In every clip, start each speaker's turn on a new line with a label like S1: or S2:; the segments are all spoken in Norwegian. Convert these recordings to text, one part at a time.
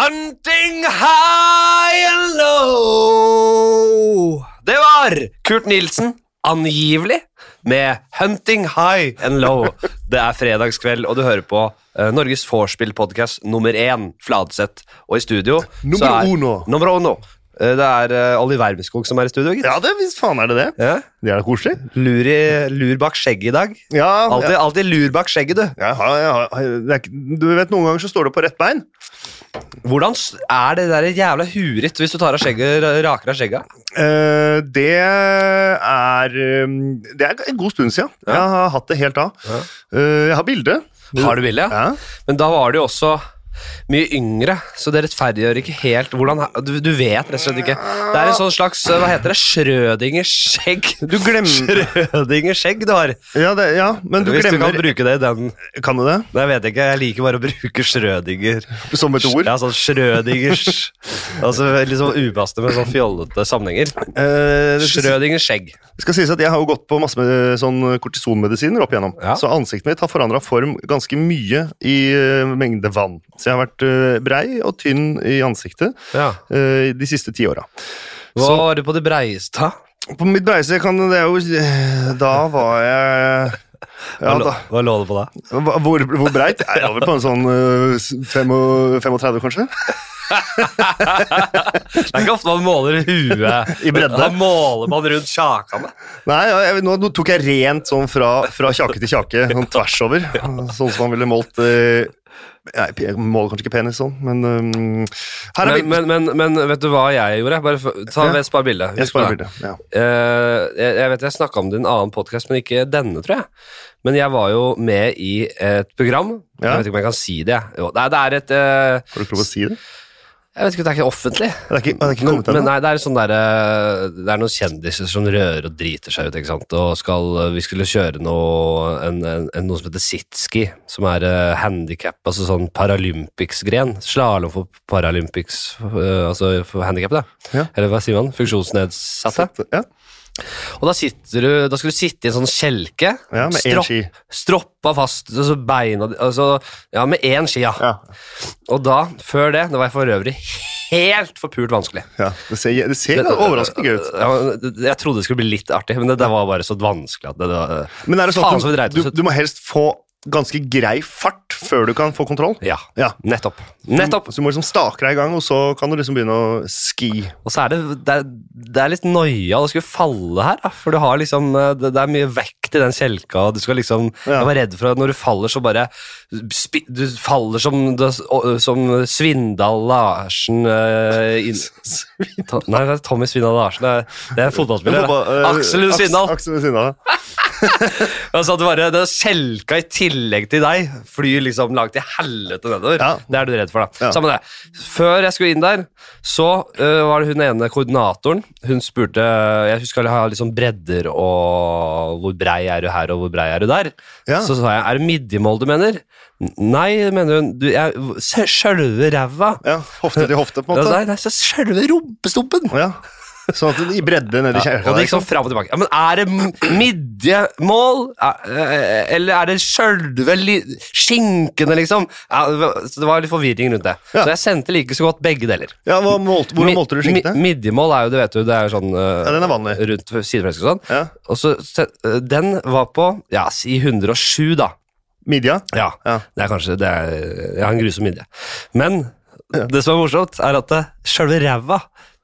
S1: Hunting high and low. Det var Kurt Nilsen, angivelig, med Hunting high and low. Det er fredagskveld, og du hører på eh, Norges vorspiel-podkast nummer én, Fladseth. Og i studio
S2: Nummer
S1: så er,
S2: uno.
S1: Nummer uno. Eh, Det er eh, Olli Wermskog som er i studio, gitt.
S2: Ja, det, visst faen er det det.
S1: Ja.
S2: Det er da koselig.
S1: Lur, i, lur bak skjegget i dag.
S2: Ja,
S1: Alltid,
S2: ja.
S1: alltid lur bak skjegget, du.
S2: Jeg har, jeg har, det er, ikke- du vet, Noen ganger så står det på rett bein.
S1: Hvordan s- er det der jævla huret hvis du tar av skjegget, raker av skjegget?
S2: Eh, det er eh, Det er en god stund siden.
S1: Ja.
S2: Jeg har hatt det helt av.
S1: Ja.
S2: Eh, jeg har bilde.
S1: Har du bilde?
S2: Ja.
S1: Men da var det jo også mye yngre, så det rettferdiggjør ikke helt hvordan du, du vet rett og slett ikke. Det er en sånn slags Hva heter det? Schrødingers skjegg.
S2: Du glemmer
S1: Schrødingers skjegg du har.
S2: Ja, det, ja men du
S1: Hvis du
S2: glemmer
S1: kan bruke det i den
S2: Kan du det?
S1: Nei, jeg vet ikke. Jeg liker bare å bruke Schrødinger.
S2: Som et ord?
S1: Ja, sånn Schrødingers Altså litt sånn upassende med sånn fjollete sammenhenger.
S2: Eh, det skal,
S1: Schrødingers skjegg.
S2: si- skal sies at Jeg har jo gått på masse med sånn kortisonmedisiner opp igjennom.
S1: Ja.
S2: Så ansiktet mitt har forandra form ganske mye i eh, mengde vann. Så jeg har vært eh, brei og tynn i ansiktet
S1: Ja.
S2: eh, de siste ti åra.
S1: Hva var det på det breieste?
S2: På mitt breise kan det jo eh, Da var jeg ja,
S1: Hva, lå-
S2: da,
S1: hva lå det på da?
S2: hva- hvor, hvor breit? Jeg er vel på en sånn eh, s- fem og- 35, kanskje?
S1: Det er ikke ofte man måler huet
S2: I bredde.
S1: Da måler man rundt kjakene.
S2: Nei, ja, jeg, nå nå tok jeg rent sånn fra, fra kjake til kjake, sånn tvers over. Sånn som man ville målt eh, Nei, jeg måler kanskje ikke penis sånn, men um, Her er
S1: Men,
S2: bildet.
S1: men, men, men vet du hva jeg gjorde? Bare for, ta
S2: Ja.
S1: ja. Spar bildet.
S2: Jeg
S1: Husk på
S2: sparer
S1: det.
S2: bildet. Ja.
S1: Eh, jeg, jeg vet jeg snakka om det i en annen podkast, men ikke denne, tror jeg. Men jeg var jo med i et program.
S2: Ja.
S1: Jeg vet ikke om jeg kan si det. jeg. Jo, nei, det er et eh,
S2: Har du ikke lov å si det?
S1: Jeg vet ikke, det er ikke offentlig.
S2: Det er ikke, det er ikke
S1: Men,
S2: kommet
S1: men
S2: ennå.
S1: nei, det er, sånn der, eh, det er noen kjendiser som rører og driter seg ut. ikke sant? Og skal, eh, Vi skulle kjøre noe, en, en, en, noe som heter sitski, som er uh, handikap, altså sånn Paralympics-gren. Slalåm for Paralympics, eh, altså for handikappede.
S2: Ja.
S1: Eller hva sier man? Funksjonsnedsatte.
S2: Ja,
S1: Og da, sitter du, da skal du sitte i en sånn kjelke,
S2: ja, med én
S1: stropp-
S2: ski.
S1: stroppa fast, altså beina di- altså, Ja, med én ski, ja.
S2: Ja,
S1: Og da, før det, da var jeg for øvrig helt forpult vanskelig.
S2: ja. Det ser, det ser
S1: Det-
S2: overraskende gøy ut.
S1: Ja, men det- jeg trodde det skulle bli litt artig, men det, det var bare så vanskelig at det, det
S2: Men er det
S1: Faen, så vi
S2: sånn
S1: dreit
S2: at
S1: oss
S2: du,
S1: ut.
S2: du må helst få ganske grei fart før du kan få kontroll?
S1: Ja.
S2: Ja.
S1: Nettopp. Nettopp.
S2: Så du må liksom stake deg i gang, og så kan du liksom begynne å ski.
S1: Og så er det, det, er, det er litt noia å skulle falle her, da. For du har liksom eh, Det, det er mye vekt i den kjelka, og du skal liksom
S2: Ja.
S1: Jeg var redd for at når du faller, så bare spi, Du faller som, som Svindal Larsen eh, inn, To- Nei, det er Tommy Svindal Larsen. Det er, det er en fotballspiller. da. Aksel Lund Svindal.
S2: eh, Aksel Lund Svindal.
S1: Altså at det bare, det Kjelka i tillegg til deg flyr liksom langt til helvete nedover.
S2: Ja.
S1: Det er du redd for, da.
S2: Ja.
S1: Samme det. Før jeg skulle inn der, så øh, var det hun ene koordinatoren. Hun spurte Jeg husker jeg har litt sånn bredder og hvor brei er du her, og hvor brei er du der.
S2: Ja.
S1: Så sa jeg er det midjemål du mener? N- Nei, mener hun. Du, jeg, sjølve ræva.
S2: Ja, hofte til hofte, på en
S1: Ja,
S2: måte.
S1: Nei, nei, så sjølve rumpestumpen.
S2: Ja, Sånn at i bredde nedi
S1: Ja,
S2: kjerka.
S1: og det
S2: der,
S1: gikk sånn fram og tilbake. Ja, men er det m- midjemål? Er- eh, Eller er det sjølve li- skinkene, liksom? Ja, det var- så det var litt forvirring rundt det. Så
S2: Ja.
S1: jeg sendte like så godt begge deler.
S2: Ja, hva målte, Hvordan
S1: Mi-
S2: målte du skinkene?
S1: mi- Midjemål er jo, du vet jo, det er jo sånn
S2: Ja,
S1: eh,
S2: den er vanlig.
S1: rundt sideflesk og sånn.
S2: Ja.
S1: Og så, se- eh, den var på, ja, si 107 da.
S2: Midja?
S1: Ja,
S2: Ja.
S1: det er kanskje, det er, jeg har en grusom midje. Men det som er morsomt er at eh, sjølve ræva,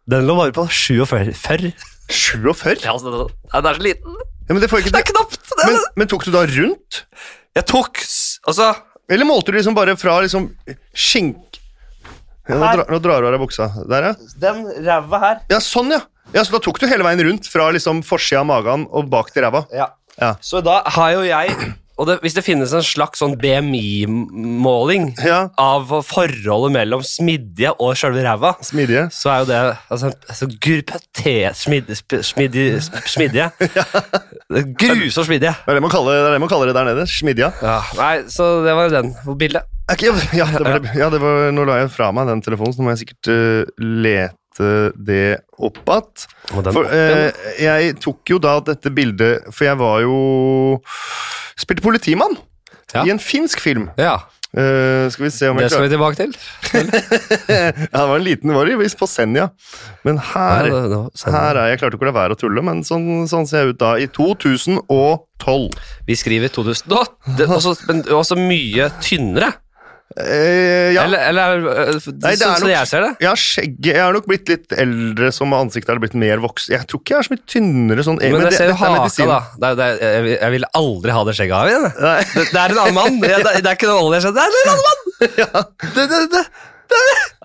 S1: den lå bare på 47.
S2: 47?
S1: Ja, altså, det, er- den er så liten.
S2: Ja, men, det får ikke,
S1: Det er knapt! Det er
S2: men, men tok du da rundt?
S1: Jeg tok s- Altså
S2: Eller målte du liksom bare fra liksom skink... Ja, nå,
S1: Her.
S2: dra, nå drar du av deg buksa. Der, ja.
S1: Den ræva her.
S2: Ja, sånn, ja. ja. Så da tok du hele veien rundt fra liksom forsida av magen og bak til ræva?
S1: Ja.
S2: Ja.
S1: Så da har jo jeg Og det, hvis det finnes en slags sånn BMI-måling
S2: Ja.
S1: av forholdet mellom smidige og sjølve ræva,
S2: Smidige.
S1: så er jo det altså, altså gurpete smidige smidige, smidige. Grusomt smidige.
S2: Det er det man kaller det, er det, man kaller det der nede. Smidja.
S1: Ja, nei, så det var den på bildet.
S2: Er ikke- Ja, det var, ja det var, nå la jeg fra meg den telefonen, så nå må jeg sikkert eh, lete det opp igjen.
S1: Og den
S2: For
S1: opp igjen.
S2: eh, jeg tok jo da dette bildet For jeg var jo Spilte politimann
S1: Ja.
S2: i en finsk film.
S1: ja.
S2: Eh, skal vi se om
S1: Det
S2: jeg
S1: skal
S2: klarer
S1: vi tilbake til.
S2: Ja, det var en liten, det var visst på Senja. Men her,
S1: Ja, det- det var Senja.
S2: her er jeg klarte ikke å la være å tulle, men sånn, sånn ser jeg ut da. I 2012.
S1: Vi skriver 2000 da, det, også, Men også mye tynnere.
S2: Eh, ja.
S1: Eller, eller eh, f-
S2: Nei, det er
S1: sånn som
S2: nok-
S1: jeg ser det.
S2: Jeg har skjegg Jeg har nok blitt litt eldre, som ansiktet har blitt mer voksen. Jeg tror ikke jeg er så mye tynnere sånn.
S1: Men, jeg ser jo
S2: dette er
S1: haka,
S2: medisin.
S1: da. Det, er- det, er- jeg, vil- jeg vil aldri ha det skjegget av igjen. jeg.
S2: Nei.
S1: Det, det er en annen mann. Det, det, det er ikke noe olje. Det er en annen mann! Det, det, det.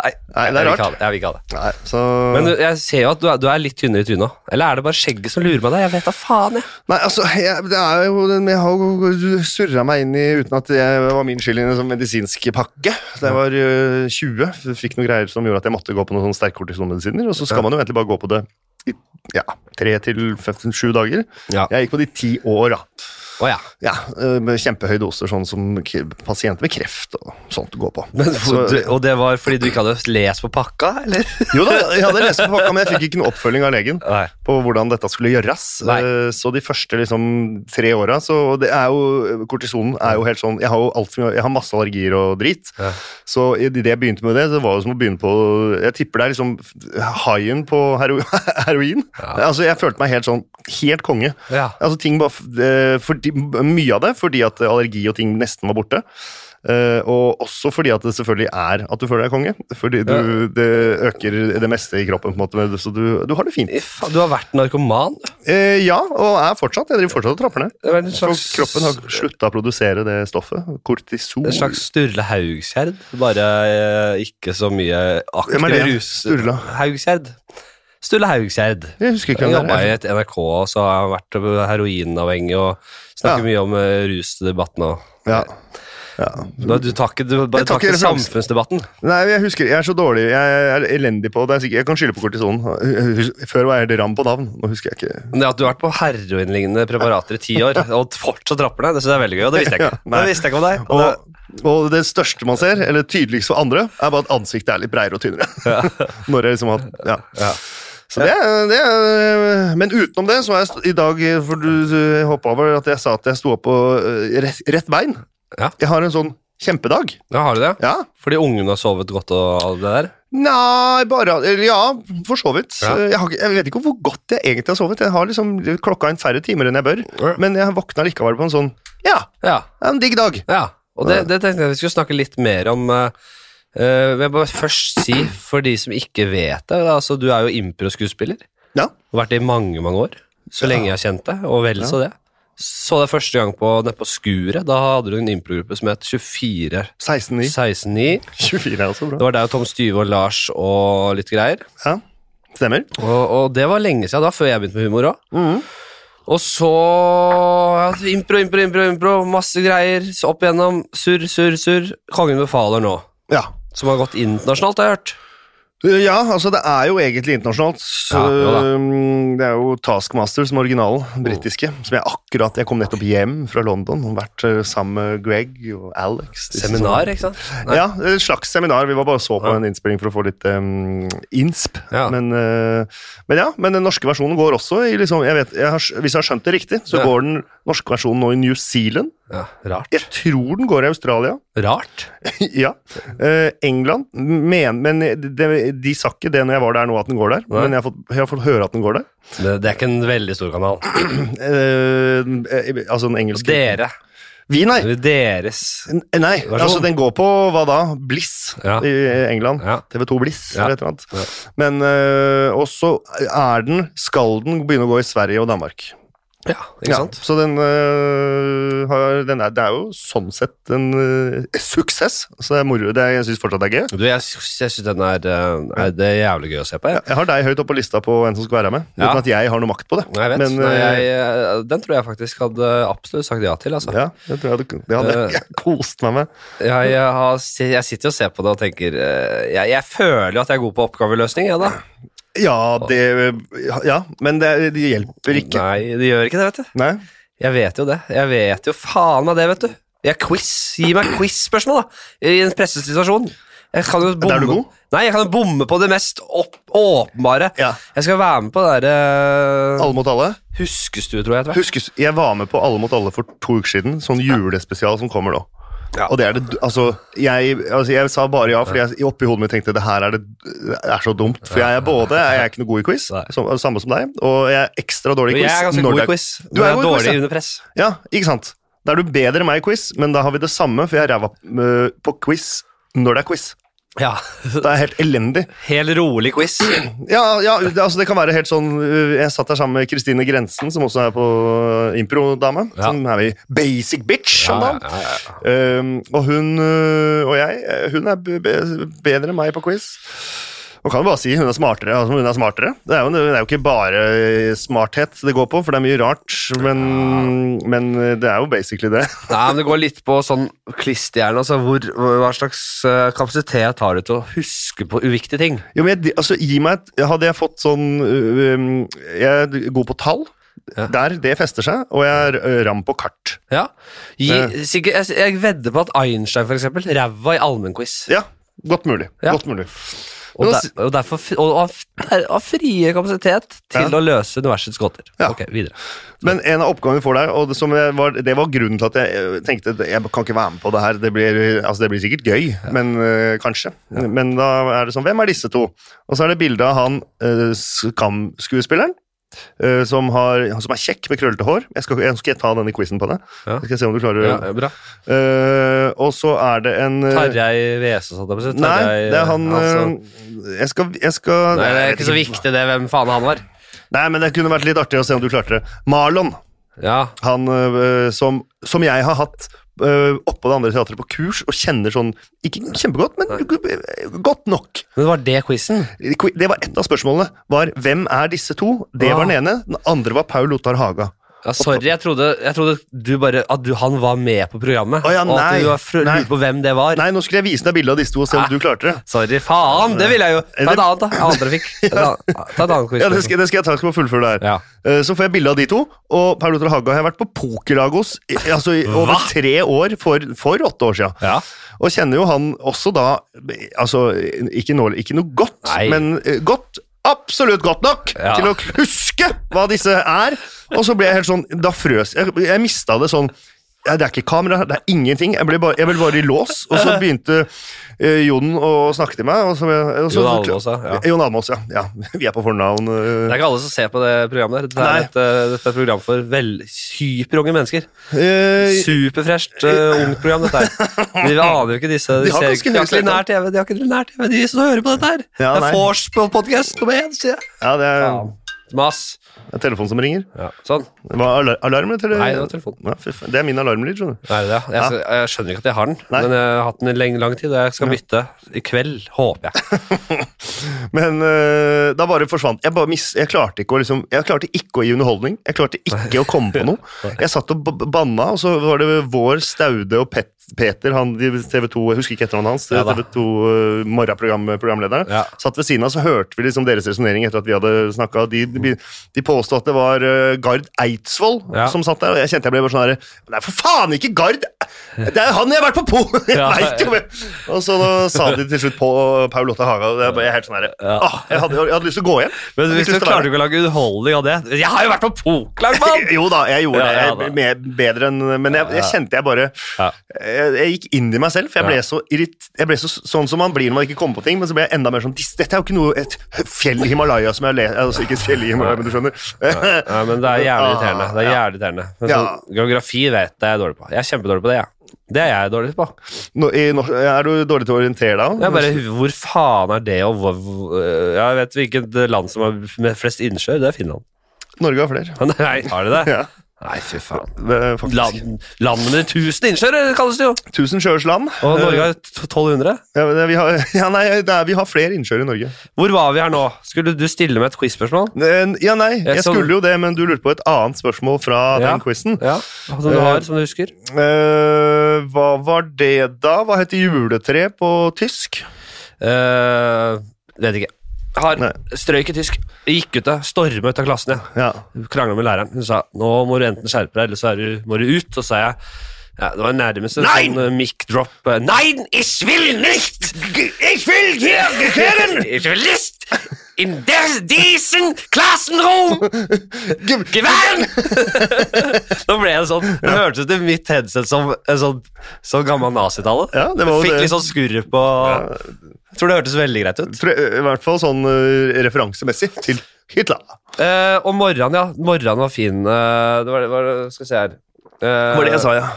S1: Nei,
S2: Nei, det
S1: jeg
S2: er
S1: vil
S2: rart.
S1: ikke ha det. Jeg vil ikke ha det.
S2: Nei, så
S1: Men du, jeg ser jo at du er, du er litt tynnere i trynet òg. Eller er det bare skjegget som lurer meg der? Jeg vet da faen, jeg.
S2: Nei, altså, jeg, det er jo, jeg har jo surra meg inn i, uten at det var min skyld, i en sånn medisinsk pakke. Da jeg var øh, 20, f- fikk noen greier som gjorde at jeg måtte gå på noen sånne sterke kortisonmedisiner. Og så skal man jo egentlig bare gå på det i ja, tre til fem- sju dager.
S1: Ja.
S2: Jeg gikk på de ti år, da.
S1: Å ja.
S2: Ja, øh, med kjempehøye doser, sånn som k- pasienter med kreft og sånt går på.
S1: Men,
S2: Så-
S1: du, og det var fordi du ikke hadde lest på pakka, eller?
S2: jo da, jeg hadde lest på pakka, men jeg fikk ikke noe oppfølging av legen
S1: Nei.
S2: på hvordan dette skulle gjøres.
S1: Nei.
S2: Eh, Så de første liksom, tre åra så og det er jo, Kortisonen er jo helt sånn Jeg har jo alt for mye, jeg har masse allergier og drit.
S1: Ja.
S2: Så idet jeg begynte med det, så var det som å begynne på Jeg tipper det er liksom haien på hero heroin. Altså, jeg følte meg helt sånn Helt konge.
S1: Ja.
S2: Altså, ting bare, f- eh, fordi, mye av det fordi at allergi og ting nesten var borte. Eh, og også fordi at det selvfølgelig er at du føler deg konge. Fordi du, det øker det meste i kroppen, på en måte, men du- så du, du har det fint.
S1: Fy faen, Du har vært narkoman. du.
S2: Eh, ja, og er fortsatt. Jeg driver fortsatt og trapper ned.
S1: Det var en
S2: For
S1: slags,
S2: kroppen har slutta å produsere det stoffet. Kortisol.
S1: en slags Sturle Haugskjerd, bare eh, ikke så mye aktiv
S2: Hvem er det?
S1: rus...
S2: Sturla?
S1: Haugskjerd. Sturle Haugskjerd.
S2: Jeg husker ikke
S1: Han
S2: hvem
S1: jobba
S2: det
S1: i
S2: er.
S1: et NRK, så har han vært heroinavhengig og snakker
S2: Ja.
S1: mye om eh, rusdebatten og
S2: Ja. Ja.
S1: Du, du tar ikke, du bare
S2: Jeg tar
S1: tar
S2: ikke
S1: ikke
S2: referansen.
S1: samfunnsdebatten.
S2: Nei, jeg husker, jeg er så dårlig. Jeg er elendig på det. Jeg, er sikker, jeg kan skylde på kortisonen. Hus- Før var jeg helt ram på navn. Nå husker jeg ikke.
S1: Men Det at du har vært på heroinlignende preparater i ti år og fortsatt trapper ned, det synes jeg er veldig gøy. Og det visste jeg ikke.
S2: Ja, nei.
S1: det visste jeg ikke om deg. Og det,
S2: Og, og det største man ser, eller tydeligst for andre, er bare at ansiktet er litt breiere og tynnere. Når jeg liksom har, ja.
S1: Ja.
S2: Så det, er- det er- Men utenom det, så er jeg st- i dag eh, For du eh, hoppet over at jeg sa at jeg sto opp på eh, rett, rett bein.
S1: Ja.
S2: Jeg har en sånn kjempedag.
S1: ja, har du det?
S2: Ja.
S1: Fordi ungene har sovet godt og alt det der?
S2: Nei, bare eller Ja, for så vidt.
S1: Ja.
S2: Eh, Jeg, har, ikke- jeg vet ikke hvor godt jeg egentlig har sovet. Jeg har liksom klokka inn færre timer enn jeg bør.
S1: Ja.
S2: Men jeg våkna likevel på en sånn Ja,
S1: Ja.
S2: en digg dag.
S1: ja. Og det, det tenkte jeg vi skulle snakke litt mer om. eh, eh, jeg vil bare først si, for de som ikke vet det, altså du er jo impro-skuespiller.
S2: Ja.
S1: Du har vært det i mange, mange år. Så lenge jeg har kjent deg, og vel så det. Så deg første gang på, nede på Skuret. Da hadde du en improgruppe som het 24
S2: 16-9.
S1: 169.
S2: 24 er også altså, bra.
S1: Det var deg og Tom Styve og Lars og litt greier.
S2: Ja, stemmer.
S1: Og, og det var lenge siden da, før jeg begynte med humor òg. Og så ja, impro, impro, impro, impro, masse greier. Så opp igjennom. Surr, surr, surr. Kongen befaler nå.
S2: Ja.
S1: Som har gått internasjonalt, har jeg hørt.
S2: Uh, ja, altså det er jo egentlig internasjonalt.
S1: Ja, jo da.
S2: Um, det er jo Taskmaster som er originalen, den britiske.
S1: Mm.
S2: Som jeg akkurat Jeg kom nettopp hjem fra London og vært uh, sammen med Greg og Alex. disse
S1: Seminar, ikke sant?
S2: som- Ja, et slags seminar. Vi var bare og så på en innspilling for å få litt um, insp.
S1: Ja.
S2: Men, uh, men ja, men den norske versjonen går også i liksom, jeg vet, jeg har, skj- Hvis jeg har skjønt det riktig, så
S1: Ja.
S2: går den norske versjonen nå i New Zealand.
S1: Ja, rart.
S2: Jeg tror den går i Australia.
S1: Rart.
S2: Ja. Eh, England men, men de, de sa ikke det når jeg var der nå, at den går der.
S1: Nei.
S2: Men jeg har, fått, jeg har fått høre at den går der.
S1: Det, det er ikke en veldig stor kanal.
S2: Eh, eh, altså den engelske
S1: Dere.
S2: Vi, nei!
S1: Deres.
S2: N- Nei,
S1: Versjon.
S2: altså den går på hva da? Bliss
S1: sånn. Ja.
S2: i England.
S1: Ja.
S2: TV2 Bliss
S1: Ja.
S2: eller et eller annet. Men eh, også er den Skal den begynne å gå i Sverige og Danmark?
S1: Ja, ikke
S2: Ja,
S1: sant?
S2: så den, øh, har, den er, det er jo sånn sett en øh, suksess. Så det er moro. Det er, jeg syns fortsatt det er gøy.
S1: Du, jeg, sy- jeg syns den er, eh, er Det er jævlig gøy å se på. Jeg.
S2: Jeg har deg høyt oppe på lista på hvem som skal være med, uten
S1: Ja.
S2: at jeg har noe makt på det.
S1: Jeg vet.
S2: Men,
S1: Nei,
S2: øh,
S1: jeg, eh, den tror jeg faktisk hadde absolutt sagt ja til. Altså.
S2: eh, ja, det tror jeg du, det hadde
S1: Eh.
S2: jeg kost meg med.
S1: Jeg, jeg, har, se- jeg sitter jo og ser på det og tenker eh, Jeg, jeg føler jo at jeg er god på oppgaveløsning, jeg, da.
S2: Ja, det Ja, men det, det hjelper ikke.
S1: Nei, det gjør ikke det, vet du.
S2: Nei.
S1: Jeg vet jo det. Jeg vet jo faen meg det, vet du. Jeg quiz. Gi meg quiz-spørsmål, da. I en pressesituasjon. Jeg kan jo bomme.
S2: du god?
S1: Nei, jeg kan jo bomme på det mest opp, åpenbare.
S2: Ja.
S1: Jeg skal være med på det derre
S2: Alle mot alle.
S1: Huskestue, tror jeg. etter hvert.
S2: Huskes, jeg var med på Alle mot alle for to uker siden. Sånn julespesial som kommer nå.
S1: Ja.
S2: Og det er det d- Altså, jeg, altså, jeg sa bare ja, fordi jeg oppi hodet mitt tenkte det her er, det, det er så dumt. For jeg er både Jeg er ikke noe god i quiz,
S1: Nei.
S2: som, samme som deg, og jeg er ekstra dårlig i
S1: Men
S2: quiz.
S1: jeg er ganske
S2: når
S1: god
S2: det
S1: i quiz.
S2: Du
S1: Du
S2: er
S1: er,
S2: god i quiz,
S1: dårlig
S2: ja.
S1: under press.
S2: Ja, ikke sant? Da er du bedre enn meg i quiz, men da har vi det samme, for jeg er ræva øh, på quiz når det er quiz.
S1: Ja.
S2: Det er helt elendig.
S1: Helt rolig quiz.
S2: Ja, ja det, altså det kan være helt sånn øh, Jeg satt der sammen med Kristine Grensen, som også er på øh, impro-dame.
S1: Ja.
S2: Som er i Basic Bitch om dagen.
S1: ja, ja.
S2: Ehm, og hun øh, og jeg, øh, hun er b- b- bedre enn meg på quiz. Og kan jo bare si hun er smartere. Altså, hun er smartere. Det er jo, det er jo ikke bare øh, smarthet det går på, for det er mye rart. Men, men øh, det er jo basically det.
S1: Nei, men det går litt på sånn klisterhjerne. Altså, hvor, hva slags eh, kapasitet har du til å huske på uviktige ting?
S2: Jo, men jeg, altså, gi meg et, hadde jeg fått sånn øh, øhm, Jeg er god på tall.
S1: Ja.
S2: Der det fester seg. Og jeg er øh, ram på kart.
S1: Ja. Gi,
S2: Ja.
S1: sikkert, jeg, jeg vedder på at Einstein, for eksempel, ræva i allmennquiz.
S2: Ja, godt mulig.
S1: Ja.
S2: Godt mulig.
S1: Og,
S2: Men
S1: der,
S2: altså-
S1: og derfor f- og, og, der, har frie kapasitet til
S2: Ja.
S1: å løse universets gåter.
S2: Ja.
S1: Ok, videre.
S2: Men en av oppgavene vi får der, og det, som jeg var, det var grunnen til at jeg eh, tenkte at jeg kan ikke være med på det her. Det blir, altså det blir sikkert gøy, men eh, kanskje. Men da er det sånn Hvem er disse to? Og så er det bilde av han eh, Skam-skuespilleren. eh, som, har, han som er kjekk med krøllete hår. Jeg skal, jeg skal ta denne quizen på det.
S1: Ja.
S2: Skal jeg se om du klarer
S1: Ja, bra.
S2: Eh, Og så er det en eh,
S1: Tarjei Vesaas, hadde jeg på å si.
S2: Nei,
S1: Tarjei-
S2: det er han
S1: altså-
S2: eh, Jeg skal, jeg skal
S1: Nei, det er
S2: jeg vet
S1: ikke så viktig det, hvem faen han var.
S2: Nei, men det kunne vært litt artig å se om du klarte det. Marlon.
S1: Ja,
S2: han øh, som, som jeg har hatt øh, oppå det andre teatret på kurs, og kjenner sånn Ikke kjempegodt, men g- godt nok.
S1: Men det var det quizen?
S2: Qu- Det var ett av spørsmålene. var Hvem er disse to? Det var
S1: Ah.
S2: den ene. Den andre var Paul Ottar Haga.
S1: Ja, sorry, jeg trodde, jeg trodde du bare, at du, han var med på programmet.
S2: Å ja,
S1: og at
S2: nei,
S1: du var fr-
S2: nei.
S1: lurte på hvem det var.
S2: Nei, nå skulle jeg vise deg bilde av disse to og se om
S1: Ah.
S2: du klarte det.
S1: Sorry, faen! Det ville jeg jo. Ta
S2: det-
S1: et annet, da. Annet dere fikk. Ta et annet- ta et annet quiz. liksom.
S2: Ja, det skal, det skal jeg ta. Jeg Skal bare fullføre det her.
S1: Ja.
S2: Eh, Så får jeg bilde av de to, og Paul Ottar Haga har jeg vært på pokerlag hos i- altså, i over
S1: Hva?
S2: tre år for, for åtte år siden.
S1: Ja.
S2: Og kjenner jo han også da Altså, ikke, nå, ikke noe godt,
S1: Nei.
S2: men eh, godt. Absolutt godt nok
S1: Ja.
S2: til å huske hva disse er. Og så ble jeg helt sånn Da frøs jeg. Jeg mista det sånn ja, Det er ikke kamera, her, det er ingenting. Jeg ble bare, jeg ble bare i lås. Og så begynte eh, Jon å snakke til meg. Og så, og så,
S1: Jon Almaas, ja.
S2: Jon Almaas, ja. ja. Vi er på fornavn. eh.
S1: Det er ikke alle som ser på det programmet. der. Dette
S2: Nei.
S1: er et, eh, dette er et program for vel, hyperunge mennesker.
S2: Eh,
S1: Superfresht eh, ungt program, dette her. De aner jo ikke disse.
S2: De
S1: De,
S2: har
S1: ser
S2: ganske
S1: ikke, de har
S2: høy
S1: ikke linær TV, de har ikke linær TV, de som hører på dette her.
S2: Ja,
S1: det
S2: nei.
S1: er vors på podcast nummer én, sier jeg.
S2: ja, det er
S1: Faen. Mas.
S2: en telefon som ringer.
S1: Ja. Sånn.
S2: Var alar alarmen, eller?
S1: Nei, det var telefonen.
S2: Ja, fy faen. det er min alarmlyd, skjønner du.
S1: Nei, det er det. Jeg, skal, jeg skjønner ikke at jeg har den,
S2: Nei.
S1: men jeg har hatt den i lenge, lang tid, og jeg skal bytte i kveld, håper jeg.
S2: Men eh, da bare forsvant jeg. Bare mis, jeg, klarte ikke å liksom, jeg klarte ikke å gi underholdning. Jeg klarte ikke å komme på noe. Jeg satt og b- banna, og så var det vår Staude og Pet, Peter, han i TV 2, jeg husker ikke etternavnet hans,
S1: Ja da.
S2: TV 2 eh, morgenprogram-programlederen,
S1: Ja.
S2: satt ved siden av, så hørte vi liksom deres resonnering etter at vi hadde snakka. De, de, de påstod at det var eh, Gard Eidsvoll
S1: Ja.
S2: som satt der, og jeg kjente jeg ble bare sånn her Nei, for faen, ikke Gard! Det er han jeg har vært på po! Jeg
S1: Ja.
S2: vet jo hvem- Og så da sa de til slutt på Paul Otte Haga, og det er bare jeg er helt sånn her
S1: Ja.
S2: Åh, jeg, hadde, jeg hadde lyst til å gå hjem.
S1: Men hvis du klarer ikke å lage underholdning av det Jeg har jo vært på pokerlag, mann!
S2: Jo da, jeg gjorde
S1: Ja, ja,
S2: det.
S1: da.
S2: Jeg, mer- bedre enn Men jeg, jeg kjente jeg bare
S1: Ja.
S2: jeg, jeg gikk inn i meg selv, for jeg ble så irrit... Jeg ble så, sånn som man blir når man ikke kommer på ting, men så ble jeg enda mer sånn "Dis- Dette er jo ikke noe Et fjell i Himalaya som jeg har lest Altså ikke et fjell i Himalaya, men du skjønner.
S1: Nei, men det er jævlig irriterende. Det er
S2: Ja.
S1: jævlig irriterende. Men
S2: Ja.
S1: sånn, geografi vet jeg jeg er dårlig på. Jeg er kjempedårlig på det, jeg. Det er jeg dårlig på.
S2: Nå, i, nor- er du dårlig til å orientere deg?
S1: Jeg bare, hvor faen er det, og hvor, hvor- Jeg vet hvilket land som har med flest innsjøer. Det er Finland.
S2: Norge har flere.
S1: Nei, har de det?
S2: Ja,
S1: Nei, fy faen.
S2: det er faktisk
S1: Land, landet med tusen innsjøer, kalles det jo.
S2: Tusen sjøers land.
S1: Og Norge har 1200.
S2: Ja, men det- vi har, ja, nei, det er, vi har flere innsjøer i Norge.
S1: Hvor var vi her nå? Skulle du stille med et quiz-spørsmål?
S2: Eh, Ja, nei, jeg
S1: Jeg så-
S2: skulle jo det, men du lurte på et annet spørsmål fra
S1: Ja.
S2: den quizen.
S1: Ja, som Altså, du har, som du husker.
S2: Eh, hva var det, da? Hva heter juletre på tysk?
S1: Eh, vet ikke. Har
S2: Nei.
S1: strøyk i tysk. Gikk ut av, storma ut av klassen, jeg.
S2: Ja.
S1: Krangla med læreren. Hun sa nå må du enten skjerpe deg, eller så er du, må du ut. Så sa jeg ja, Det var nærmest en
S2: Nein!
S1: sånn eh, mic drop. eh, Nein, ich will nicht!
S2: Jeg vil
S1: Ich will nicht! in this decent classroom! Geværen! Nå ble det sånn. Det hørtes ut i mitt headset som en sånn, sånn gammel nazitale.
S2: Ja, det var jo
S1: Fikk
S2: det.
S1: litt sånn skurre på Jeg tror det hørtes veldig greit ut.
S2: Tror jeg- I hvert fall sånn eh, referansemessig til Hitler.
S1: Eh, og morgenen, ja. Morgenen var fin. Eh, det var, det var, skal vi se her Eh,
S2: sa, ja.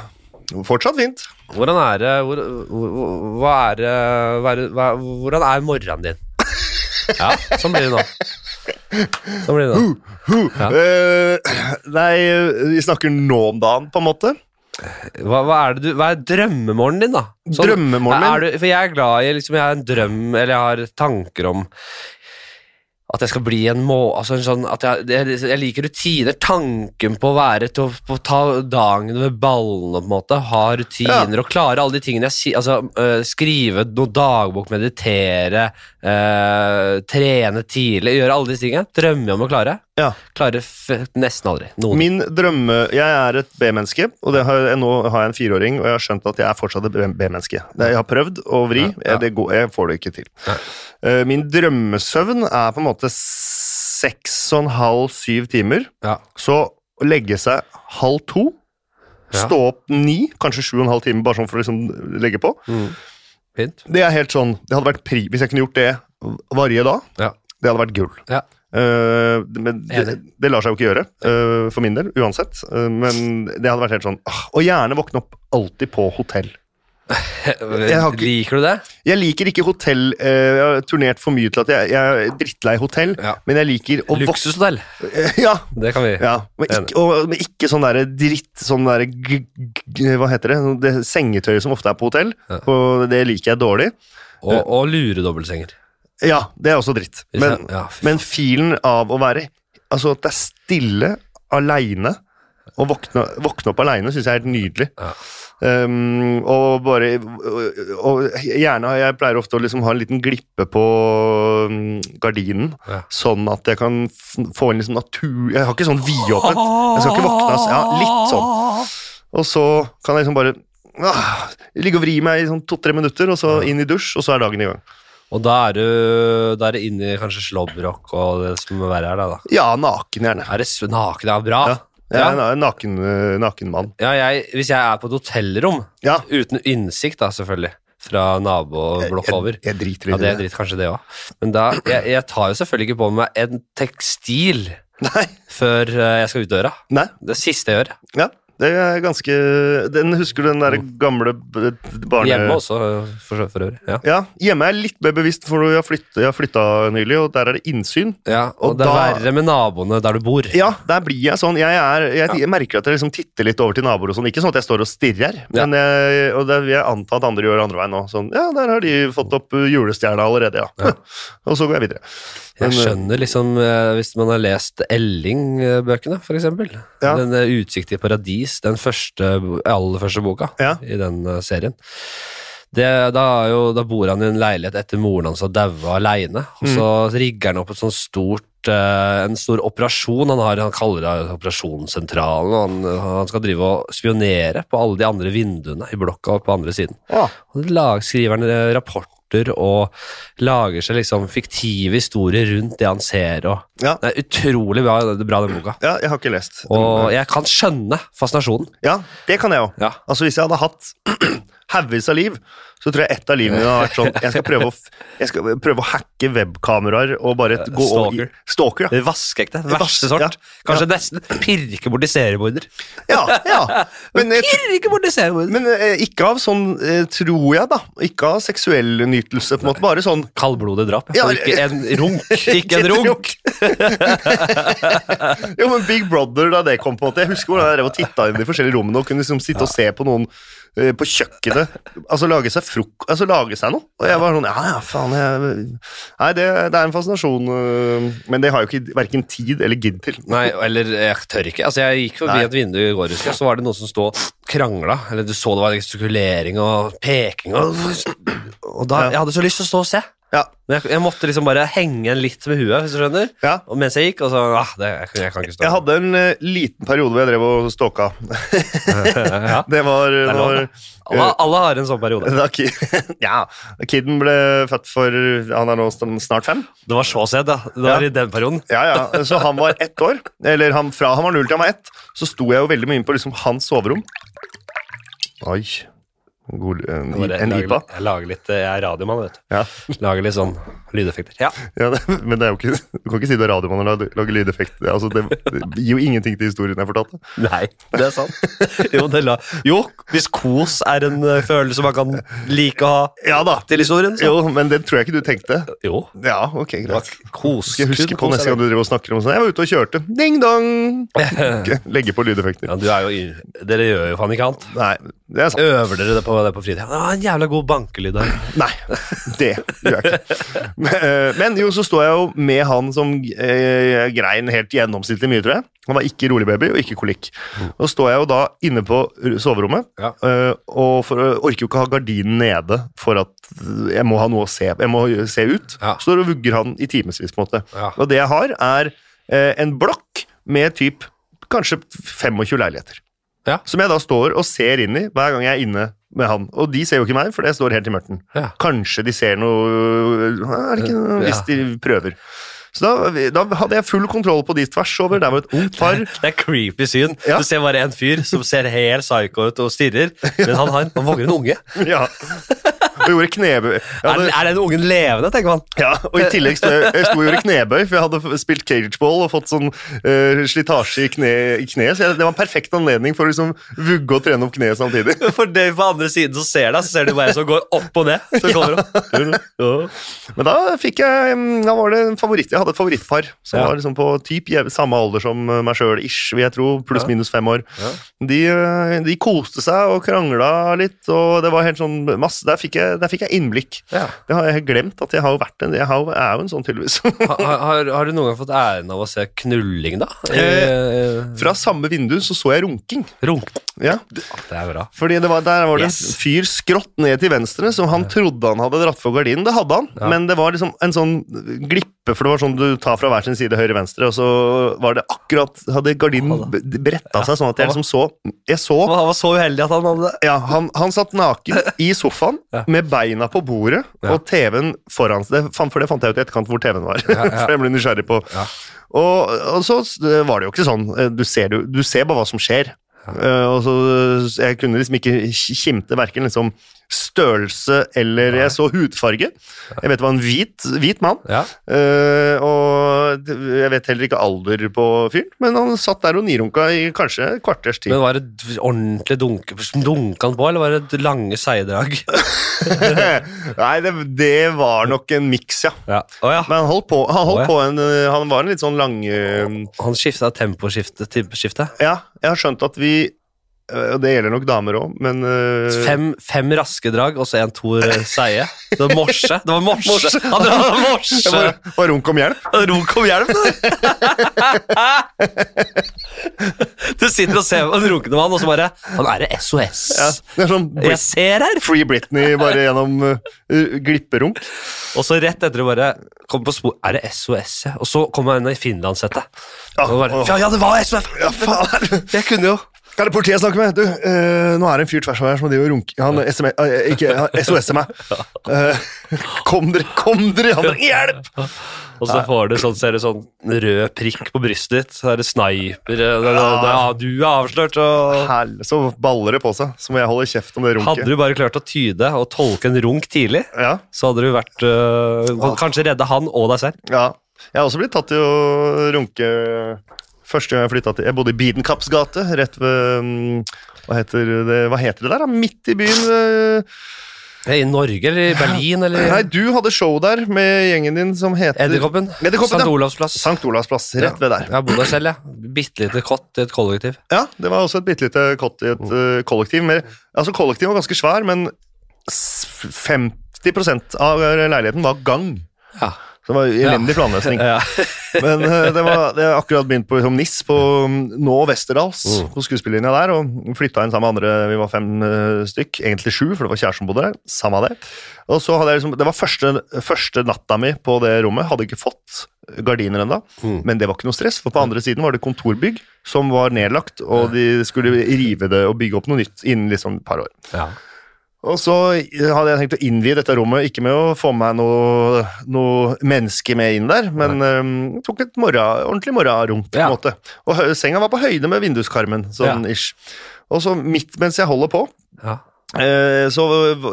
S2: Fortsatt fint.
S1: Hvordan er det hvor, hvor, hvor- Hva er det hva, er- hva, Hvordan er morgenen din? Ja, sånn blir det nå. Sånn blir det nå. Ja.
S2: Eh, nei, vi snakker nå om dagen, på en måte.
S1: Hva, hva er, det du, hva er drømmemorgenen din, da? Sånn,
S2: Drømmemorgenen min?
S1: Er du, for jeg er glad i liksom, Jeg har en drøm, eller jeg har tanker om at jeg skal bli en må... Altså en sånn, at jeg, jeg, jeg liker rutiner. Tanken på å være til å på å ta dagen ved ballene, på en måte. Ha rutiner og klare alle de tingene jeg sier. Altså, øh, skrive noe dagbok, meditere, øh, trene tidlig. Gjøre alle de tingene. Drømmer jeg om å klare.
S2: Ja.
S1: Klarer f nesten aldri. Noen.
S2: Min drømme Jeg er et B-menneske, og det har, jeg- nå har jeg en fireåring, og jeg har skjønt at jeg er fortsatt et B- B-menneske. Det- Jeg har prøvd å vri,
S1: Ja, ja.
S2: Jeg, det går, jeg får det ikke til. Eh, Min drømmesøvn er på en måte seks og en halv, syv timer.
S1: Ja.
S2: Så legge seg halv to,
S1: Ja.
S2: stå opp ni, kanskje sju og en halv time, bare sånn for å liksom legge på.
S1: Mm. Fint.
S2: Det er helt sånn, det hadde vært pri, Hvis jeg kunne gjort det varje dag,
S1: Ja.
S2: det hadde vært gull.
S1: Ja.
S2: Eh, men det,
S1: Enig.
S2: det lar seg jo ikke gjøre, eh, for min del, uansett. Eh, men det hadde vært helt sånn ah, Og gjerne våkne opp alltid på hotell. Jeg har ikke-
S1: Liker du det?
S2: Jeg liker ikke hotell eh, Jeg har turnert for mye til at jeg, jeg er drittlei hotell,
S1: Ja.
S2: men jeg liker å vokse
S1: Luksushotell.
S2: Ja,
S1: Det kan vi.
S2: ja men,
S1: Enig.
S2: ikke, og, men ikke sånn derre dritt Sånn derre g- g- Hva heter det? det sengetøyet som ofte er på hotell.
S1: Ja.
S2: Og det liker jeg dårlig.
S1: Og, og lure dobbeltsenger.
S2: Ja, det er også dritt.
S1: Hvis
S2: Men,
S1: jeg- ja, fy
S2: Men filen av å være Altså at det er stille, aleine, og våkne, våkne opp aleine, syns jeg er helt nydelig.
S1: Ja.
S2: Um, og bare og, og gjerne Jeg pleier ofte å liksom ha en liten glippe på um, gardinen,
S1: Ja.
S2: sånn at jeg kan f få en liksom natur Jeg har ikke sånn vidåpent. Jeg skal ikke våkne ass. Ja, litt sånn. Og så kan jeg liksom bare ah, ligge og vri meg i sånn to-tre minutter, og så inn i dusj, og så er dagen i gang.
S1: Og da er du Da er det inni kanskje slåbrock og det som må være her, da. da.
S2: Ja, naken gjerne.
S1: Er det s- naken? Ja, bra.
S2: Ja. Jeg er en naken, eh, naken mann.
S1: Ja, jeg, hvis jeg er på et hotellrom,
S2: Ja.
S1: uten innsikt da, selvfølgelig, fra naboblokk over
S2: Jeg, jeg driter
S1: Ja,
S2: litt
S1: det
S2: i
S1: er dritt, kanskje det òg. Men da jeg, jeg tar jo selvfølgelig ikke på meg en tekstil
S2: Nei,
S1: før eh, jeg skal ut døra.
S2: nei,
S1: Det siste jeg gjør.
S2: ja. Det er ganske Den husker du den der gamle b- barne...
S1: Hjemme også, eh, for, for øvrig. Ja.
S2: Ja, hjemme er jeg litt mer bevisst, for jeg har flytt- jeg har flytta nylig, og der er det innsyn.
S1: Ja, og,
S2: Og
S1: det er
S2: da-
S1: verre med naboene der du bor.
S2: Ja, der blir jeg sånn. Jeg, er, jeg merker at jeg liksom titter litt over til naboer og sånn. Ikke sånn at jeg står og stirrer,
S1: Ja.
S2: men jeg, og det vil jeg anta at andre gjør andre veien nå. Sånn, ja, der har de fått opp uh, julestjerna allerede, ja. og så går jeg videre.
S1: Jeg
S2: Men, eh,
S1: skjønner liksom, eh, hvis man har lest Elling-bøkene, for eksempel.
S2: Ja.
S1: Den eh, 'Utsikt i paradis', den første, aller første boka
S2: Ja.
S1: i den eh, serien. Det, da, er jo, da bor han i en leilighet etter moren hans har daua aleine. Og så
S2: Mm.
S1: rigger han opp et sånt stort eh, en stor operasjon. Han, har, han kaller det operasjonssentralen. Og han, han skal drive og spionere på alle de andre vinduene i blokka og på andre siden.
S2: Ja.
S1: Og lag, skriver han eh, rapporter og lager seg liksom fiktive historier rundt det han ser. Og
S2: Ja.
S1: det er utrolig bra, bra den boka.
S2: ja, jeg har ikke lest.
S1: Og jeg kan skjønne fascinasjonen.
S2: Ja, det kan jeg òg.
S1: Ja.
S2: Altså Hvis jeg hadde hatt haugevis av liv, så tror jeg ett av livene mine hadde vært sånn Jeg skal prøve å, f- jeg skal prøve å hacke webkameraer og bare
S1: Eh,
S2: gå over i
S1: stalker.
S2: Stalker, ja.
S1: Det vaskeekte. Verste
S2: Vas- ja.
S1: sort. Kanskje nesten pirke borti serieborder.
S2: ja, ja. Men, jeg, tr-
S1: Pirke borti serieborder.
S2: men eh, ikke av sånn, eh, tror jeg, da. Ikke av seksuell nytelse, på en måte. Bare sånn
S1: Kaldblodig drap.
S2: Ja,
S1: Ja. Og Ikke en runk. Ikke en runk.
S2: Jo, men Big Brother, da det kom på en måte Jeg husker hvordan jeg drev og titta inn i de forskjellige rommene og kunne liksom sitte og se på noen eh, på kjøkkenet. Altså lage seg frok... Altså lage seg noe. Og jeg var sånn Ja, ja, faen. Jeg... Nei, det, det er en fascinasjon, eh, men det har jeg jo ikke verken tid eller gidd til.
S1: Nei, eller jeg tør ikke. Altså, jeg gikk forbi
S2: Nei.
S1: et vindu i går, husker jeg, så var det noen som stod og krangla. Eller du så det var gestikulering og peking og Og da
S2: Ja.
S1: Jeg hadde så lyst til å stå og se.
S2: Ja.
S1: Men jeg, jeg måtte liksom bare henge en litt med huet, hvis du skjønner.
S2: Ja.
S1: Og mens jeg gikk, og så ah, det, jeg, kan- jeg kan ikke stå
S2: Jeg hadde en eh, liten periode hvor jeg drev og stalka.
S1: ja.
S2: Det var
S1: er lov,
S2: når
S1: alle, alle har en sånn periode.
S2: da ki ja, Kiden ble født for Han er nå snart fem.
S1: Det var så sent, da. Det var i den perioden.
S2: Ja, ja. Så han var ett år. Eller han, fra han var null til han var ett, så sto jeg jo veldig mye på liksom hans soverom. Oi. God, en,
S1: Jeg bare
S2: en
S1: lager,
S2: IPA.
S1: litt- jeg lager litt, eh, jeg er radiomann, vet du.
S2: Ja.
S1: Lager litt sånn lydeffekter. Ja.
S2: Ja, det, men det er jo ikke, du kan ikke si det er radiomann og lage- lage lydeffekt. Det, altså, det, det gir jo ingenting til historien jeg fortalte.
S1: Nei, det er sant. jo, det la, jo, hvis kos er en eh, følelse man kan like å ha
S2: Ja da.
S1: til historien, så
S2: sånn- Jo, men det tror jeg ikke du tenkte.
S1: Jo.
S2: Ja, ok, greit.
S1: Kos,
S2: Skal jeg huske
S1: kun
S2: på
S1: kos
S2: neste
S1: er
S2: gang du driver og snakker om sånn. Jeg var ute og kjørte. Ding dong! Ok, Legge på lydeffekter.
S1: Ja, du er jo, y- dere gjør jo faen ikke annet.
S2: Nei, det er sant.
S1: Øver dere det på, det på fritida? Det var en jævla god bankelyd der.
S2: Nei, det gjør jeg ikke. Men, eh, Men jo, så står jeg jo med han som eh, grein helt gjennomsnittlig mye, tror jeg. Han var ikke rolig baby og ikke kolikk. Og så står jeg jo da inne på soverommet,
S1: Ja.
S2: eh, og for, orker jo ikke ha gardinen nede for at eh, jeg må ha noe å se, jeg må se ut.
S1: Ja.
S2: Står og vugger han i timevis, på en måte.
S1: Ja.
S2: Og det jeg har, er eh, en blokk med typ kanskje 25 leiligheter.
S1: Ja.
S2: Som jeg da står og ser inn i hver gang jeg er inne med han. Og de ser jo ikke meg, for jeg står helt i mørten.
S1: Ja.
S2: Kanskje de ser noe er det ikke noe,
S1: Ja.
S2: Hvis de prøver. Så da, da hadde jeg full kontroll på de tvers over. Der var et ungt par.
S1: Det er creepy syn.
S2: Ja.
S1: Du ser bare en fyr som ser helt psycho ut og stirrer, men han har han vogner en unge.
S2: Ja. Og gjorde knebøy. Jeg
S1: Er,
S2: hadde,
S1: er den ungen levende, tenker man.
S2: ja, og i tillegg sto jeg, jeg sto og gjorde knebøy, for jeg hadde f- spilt cageball og fått sånn eh, slitasje i, kne, i kneet. Så jeg, det var en perfekt anledning for å liksom vugge og trene opp kneet samtidig.
S1: For det på andre siden som ser deg, så ser du bare en som går opp og ned. Så kommer han.
S2: Men da fikk jeg mm, Da var det en favoritt Jeg hadde et favorittpar som
S1: Ja.
S2: var liksom på typ jev- samme alder som eh, meg sjøl, ish, vil jeg tro. Pluss
S1: Ja.
S2: minus fem år.
S1: Ja.
S2: De, eh, de koste seg og krangla litt, og det var helt sånn masse Der fikk jeg, der fikk jeg innblikk.
S1: Ja.
S2: Det har jeg helt glemt at jeg har jo vært en Jeg har, jo- er jo en sånn, tydeligvis.
S1: Ha- Har, har du noen gang fått æren av å se knulling, da?
S2: Eh,
S1: Eh,
S2: Fra samme vindu så så jeg runking.
S1: Runk.
S2: Ja.
S1: Det er bra.
S2: Fordi det var, Der var det en
S1: Yes.
S2: fyr skrått ned til venstre som han trodde han hadde dratt for gardinen. Det hadde han,
S1: Ja.
S2: men det var liksom en sånn glippe, for det var sånn du tar fra hver sin side høyre-venstre, og så var det akkurat Hadde gardinen
S1: Å,
S2: bretta seg sånn at jeg
S1: Ja.
S2: liksom så Jeg så
S1: Han var så uheldig at han hadde
S2: ja, han, han satt naken i sofaen
S1: Ja.
S2: med beina på bordet
S1: Ja.
S2: og TV-en foran seg. Det, fan- for det fant jeg ut i etterkant hvor TV-en var.
S1: ja.
S2: for jeg ble nysgjerrig på.
S1: Ja.
S2: Og, og så s- var det jo ikke sånn. Eh, Du ser, det jo- du ser bare hva som skjer. Eh, og så, s- jeg kunne liksom ikke ki- kimte verken liksom størrelse eller Jeg så hudfarge. Jeg vet det var en hvit, hvit mann.
S1: Ja.
S2: Eh, og d- jeg vet heller ikke alder på fyren, men han satt der og nirunka i kanskje et kvarters tid.
S1: Men var det d- ordentlig dunke, dunka han på, eller var det lange seidrag?
S2: Nei, det, det var nok en miks, ja.
S1: Ja. Å ja.
S2: Men han holdt på, han, holdt
S1: Å, ja.
S2: på en, eh, han var en litt sånn lang eh,
S1: Han skifta temposkifte til skifte.
S2: Ja, jeg har skjønt at vi eh, Og det gjelder nok damer òg, men eh,
S1: Fem, fem raske drag og så en Tor eh, seie. Det var morse. Det var morse. Han drar på
S2: det
S1: morse.
S2: var, var runk om hjelp.
S1: Runk om hjelm, du! Du sitter og ser på en runkende mann, og så bare Han er det SOS.
S2: Ja, det er sånn
S1: Jeg
S2: Brit
S1: ser her!
S2: Free Britney bare gjennom eh, glipperunk.
S1: Og så rett etter det bare kom på spor Er det SOS, ja? Og så kom jeg inn i Finlandshette.
S2: Ja,
S1: Og bare,
S2: åh.
S1: Ja, ja, det var SOS!
S2: Ja, faen!
S1: Jeg kunne jo
S2: Hva er det politiet snakker med? Du, eh, nå er det en fyr tvers over her som driver og runker. Han SMS, eh, ikke, han SOS-er meg. Eh, kom dere, kom dere! Han, hjelp!
S1: Og så får du sånn, ser du sånn rød prikk på brystet ditt, så er det sniper eh, det, det, det, ja, Du er avslørt, og
S2: Hell, så baller det på seg. Så må jeg holde kjeft om det
S1: Hadde
S2: runket.
S1: du bare klart å tyde og tolke en runk tidlig,
S2: Ja,
S1: så hadde du vært øh, Kanskje redda han og deg selv.
S2: ja. Jeg har også blitt tatt i å runke første gang jeg flytta til Jeg bodde i Bidenkaps gate, rett ved mm, hva heter, det, hva heter det der? da? Midt i byen. eh,
S1: I Norge eller i Berlin eller
S2: Nei, du hadde show der med gjengen din som heter
S1: Edderkoppen.
S2: Edderkoppen,
S1: St.
S2: ja.
S1: Olavs plass.
S2: Sankt Olavs plass.
S1: Ja.
S2: Rett ved der.
S1: Jeg har bodd der selv, jeg. Bitte lite kott i et kollektiv.
S2: Ja, det var også et bitte lite kott i et eh, kollektiv. Mer, altså Kollektivet var ganske svær, men s- 50 av eh, leiligheten var gang.
S1: Ja.
S2: Så Det var elendig planløsning.
S1: Ja.
S2: Men eh, det var, det har akkurat begynt på som NIS, på mm, nå Westerdals,
S1: Mm.
S2: på skuespillerlinja der, og flytta inn sammen med andre, vi var fem eh, stykk, egentlig sju, for det var kjæresten som bodde der, samme det. Og så hadde jeg liksom, det var første, første natta mi på det rommet, hadde ikke fått gardiner enda,
S1: Mm.
S2: men det var ikke noe stress, for på andre siden var det kontorbygg som var nedlagt, og de skulle rive det og bygge opp noe nytt innen liksom et par år.
S1: Ja.
S2: Og så eh, hadde jeg tenkt å innvie dette rommet, ikke med å få med noe, noe menneske med inn der, men um, tok et morgen, ordentlig morgenrunk på en
S1: Ja.
S2: måte. Og hø- senga var på høyde med vinduskarmen, sånn ish. Og så midt mens jeg holder på,
S1: Ja.
S2: eh, så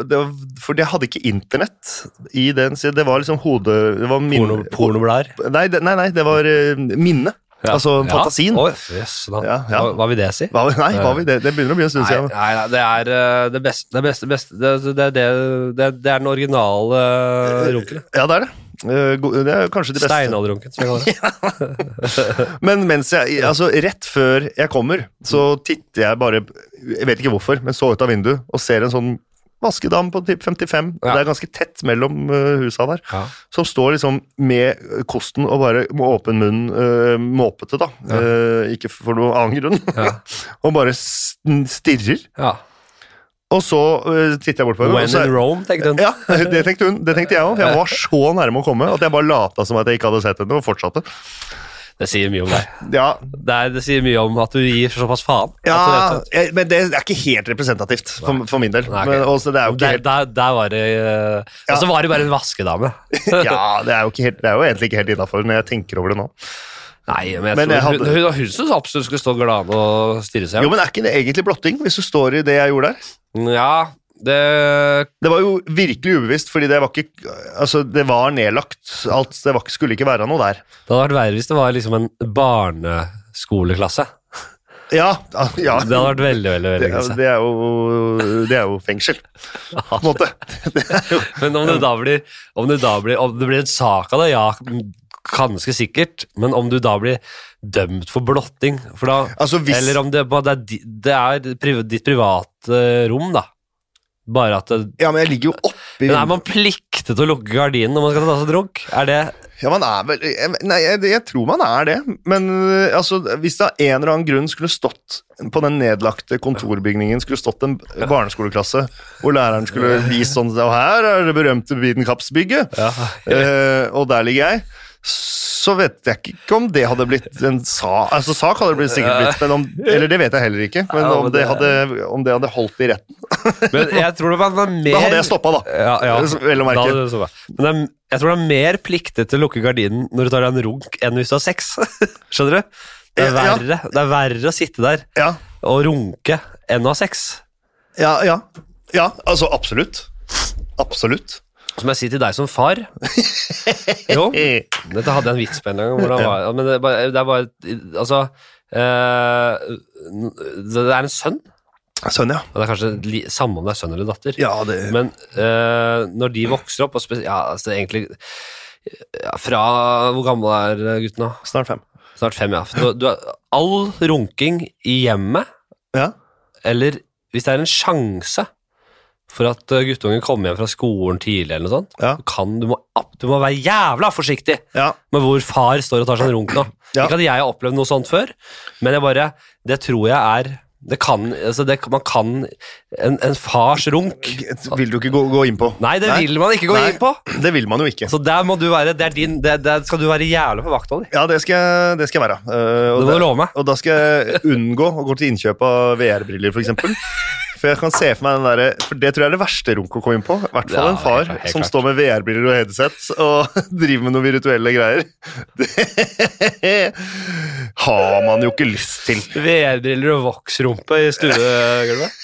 S2: det, var- For jeg hadde ikke internett i den, så det var liksom hodet... Det var min,
S1: Porno, pornoblader.
S2: Nei, det- nei, nei, det var eh, minne.
S1: Ja.
S2: Altså
S1: Ja.
S2: fantasien.
S1: Å, jøss, da.
S2: Ja, ja.
S1: Hva, hva vil det si?
S2: Hva, nei, hva, vi- det, det begynner å bli en stund
S1: Nei,
S2: siden.
S1: nei, nei, det er eh, det beste, det beste, beste det, det, det, det, det er den originale eh, runken.
S2: Ja, det er det. Eh, go- Det er kanskje det beste.
S1: Steinalderrunken, som jeg kaller det.
S2: Men mens jeg, altså rett før jeg kommer, så
S1: Mm.
S2: titter jeg bare Jeg vet ikke hvorfor, men så ut av vinduet og ser en sånn vaskedam på typ 55.
S1: Ja.
S2: Det er ganske tett mellom eh, husa der.
S1: Ja.
S2: Som står liksom med kosten og bare med åpen munn, eh, måpete, da.
S1: Ja.
S2: Eh, ikke for noen annen grunn.
S1: Ja.
S2: og bare sn- stirrer.
S1: Ja.
S2: Og så eh, titter jeg bort på henne. og
S1: When
S2: så er-
S1: in Rome, tenkte hun.
S2: ja, det tenkte hun. Det tenkte jeg òg. Jeg var så nærme å komme at jeg bare lata som at jeg ikke hadde sett henne, og fortsatte.
S1: Det sier mye om deg.
S2: Ja,
S1: Det, er, det sier mye om at du gir såpass faen. at
S2: Ja,
S1: du rett og slett-
S2: jeg, men det er ikke helt representativt for, for min del.
S1: Nei, ok.
S2: Men også, det er jo ikke
S1: der,
S2: helt,
S1: der, der var det eh, Og så var det bare en vaskedame.
S2: ja, det er jo, ikke helt, det er jo egentlig ikke helt innafor når jeg tenker over det nå.
S1: Nei, men jeg
S2: Men
S1: tror
S2: jeg hadde-
S1: hun, hun, hun syntes absolutt skulle stå glad og stirre seg.
S2: Jo, men er ikke det egentlig blotting, hvis du står i det jeg gjorde der?
S1: Ja, det
S2: Det var jo virkelig ubevisst, fordi det var ikke Altså, det var nedlagt. Alt, det var, ikke- skulle ikke være noe der.
S1: Det hadde vært verre hvis det var liksom en barneskoleklasse.
S2: Ja, ja.
S1: Det hadde vært veldig, veldig, veldig
S2: Det, er-
S1: klasse.
S2: det er jo Det er jo fengsel, på en måte. Det er jo
S1: Men om det da blir Om det da blir, om det blir en sak av det, ja, ganske sikkert. Men om du da blir dømt for blotting for da,
S2: Altså, hvis
S1: Eller om det, bare- det er, di- det er priv, ditt private rom, da. Bare at det,
S2: Ja, men jeg ligger jo oppi
S1: Men er man pliktet til å lukke gardinen når man skal ta seg en drunk? Er det
S2: Ja, man er vel jeg- Nei, jeg, jeg tror man er det. Men øh, altså, hvis det av en eller annen grunn skulle stått på den nedlagte kontorbygningen skulle stått en barneskoleklasse, hvor læreren skulle vist sånn Og her er det berømte Bidenkappsbygget,
S1: ja.
S2: eh, og der ligger jeg. Så vet jeg ikke om det hadde blitt en sak Altså, sak hadde det blitt- sikkert blitt, men om Eller det vet jeg heller ikke. Men
S1: Ja, men
S2: om det
S1: det-
S2: hadde, om det hadde holdt i retten
S1: Men jeg tror det var mer
S2: Da hadde jeg stoppa, da.
S1: Ja, ja.
S2: Det er så- vel å merke.
S1: Da hadde du stoppa. Men det er, jeg tror det er mer pliktet til å lukke gardinen når du tar deg en runk, enn hvis du har sex. Skjønner du? Det er,
S2: Ja, ja.
S1: verre, det er verre å sitte der
S2: Ja,
S1: og runke enn å ha sex.
S2: ja, ja. ja altså, absolutt. Absolutt.
S1: Som jeg sier til deg som far. Jo,
S2: Eh.
S1: dette hadde jeg en vits på en gang. Hvor han var, men det er bare, det er bare Altså eh, Det er en sønn.
S2: Sånn, ja.
S1: Og det er kanskje li, samme om det er sønn eller datter.
S2: Ja, det
S1: Men eh, når de vokser opp, og spe- ja, altså egentlig ja, Fra hvor gammel er eh, gutten nå?
S2: Snart fem.
S1: Snart fem, ja. Du, du, har- all runking i hjemmet,
S2: Ja.
S1: eller hvis det er en sjanse for at eh, guttungen kommer hjem fra skolen tidlig, eller noe sånt,
S2: Ja.
S1: du kan, du, må, ab- du må være jævla forsiktig
S2: Ja.
S1: med hvor far står og tar seg en runk nå.
S2: Ja.
S1: Ikke at jeg har opplevd noe sånt før, men jeg bare, det tror jeg er det kan, altså det, man kan en, en fars runk
S2: Vil du ikke gå, gå inn på?
S1: Nei, det vil man ikke gå
S2: Nei.
S1: inn på.
S2: Det vil man jo ikke.
S1: Så der må du være, det er din, det, det skal du være jævla på vakt over.
S2: Ja, det skal, jeg- det skal jeg være. Eh,
S1: Det
S2: og,
S1: må du
S2: det,
S1: love meg.
S2: og da skal jeg unngå å gå til innkjøp av VR-briller, f.eks. For, eksempel. for jeg kan se for meg den derre For det tror jeg er det verste runk å komme inn på. I hvert fall
S1: Ja,
S2: en
S1: helt
S2: far
S1: klart, helt
S2: som
S1: klart.
S2: står med VR-briller og headset og driver med noen virtuelle greier. Det har man jo ikke lyst til.
S1: VR-briller og voksrumpe i stuegulvet.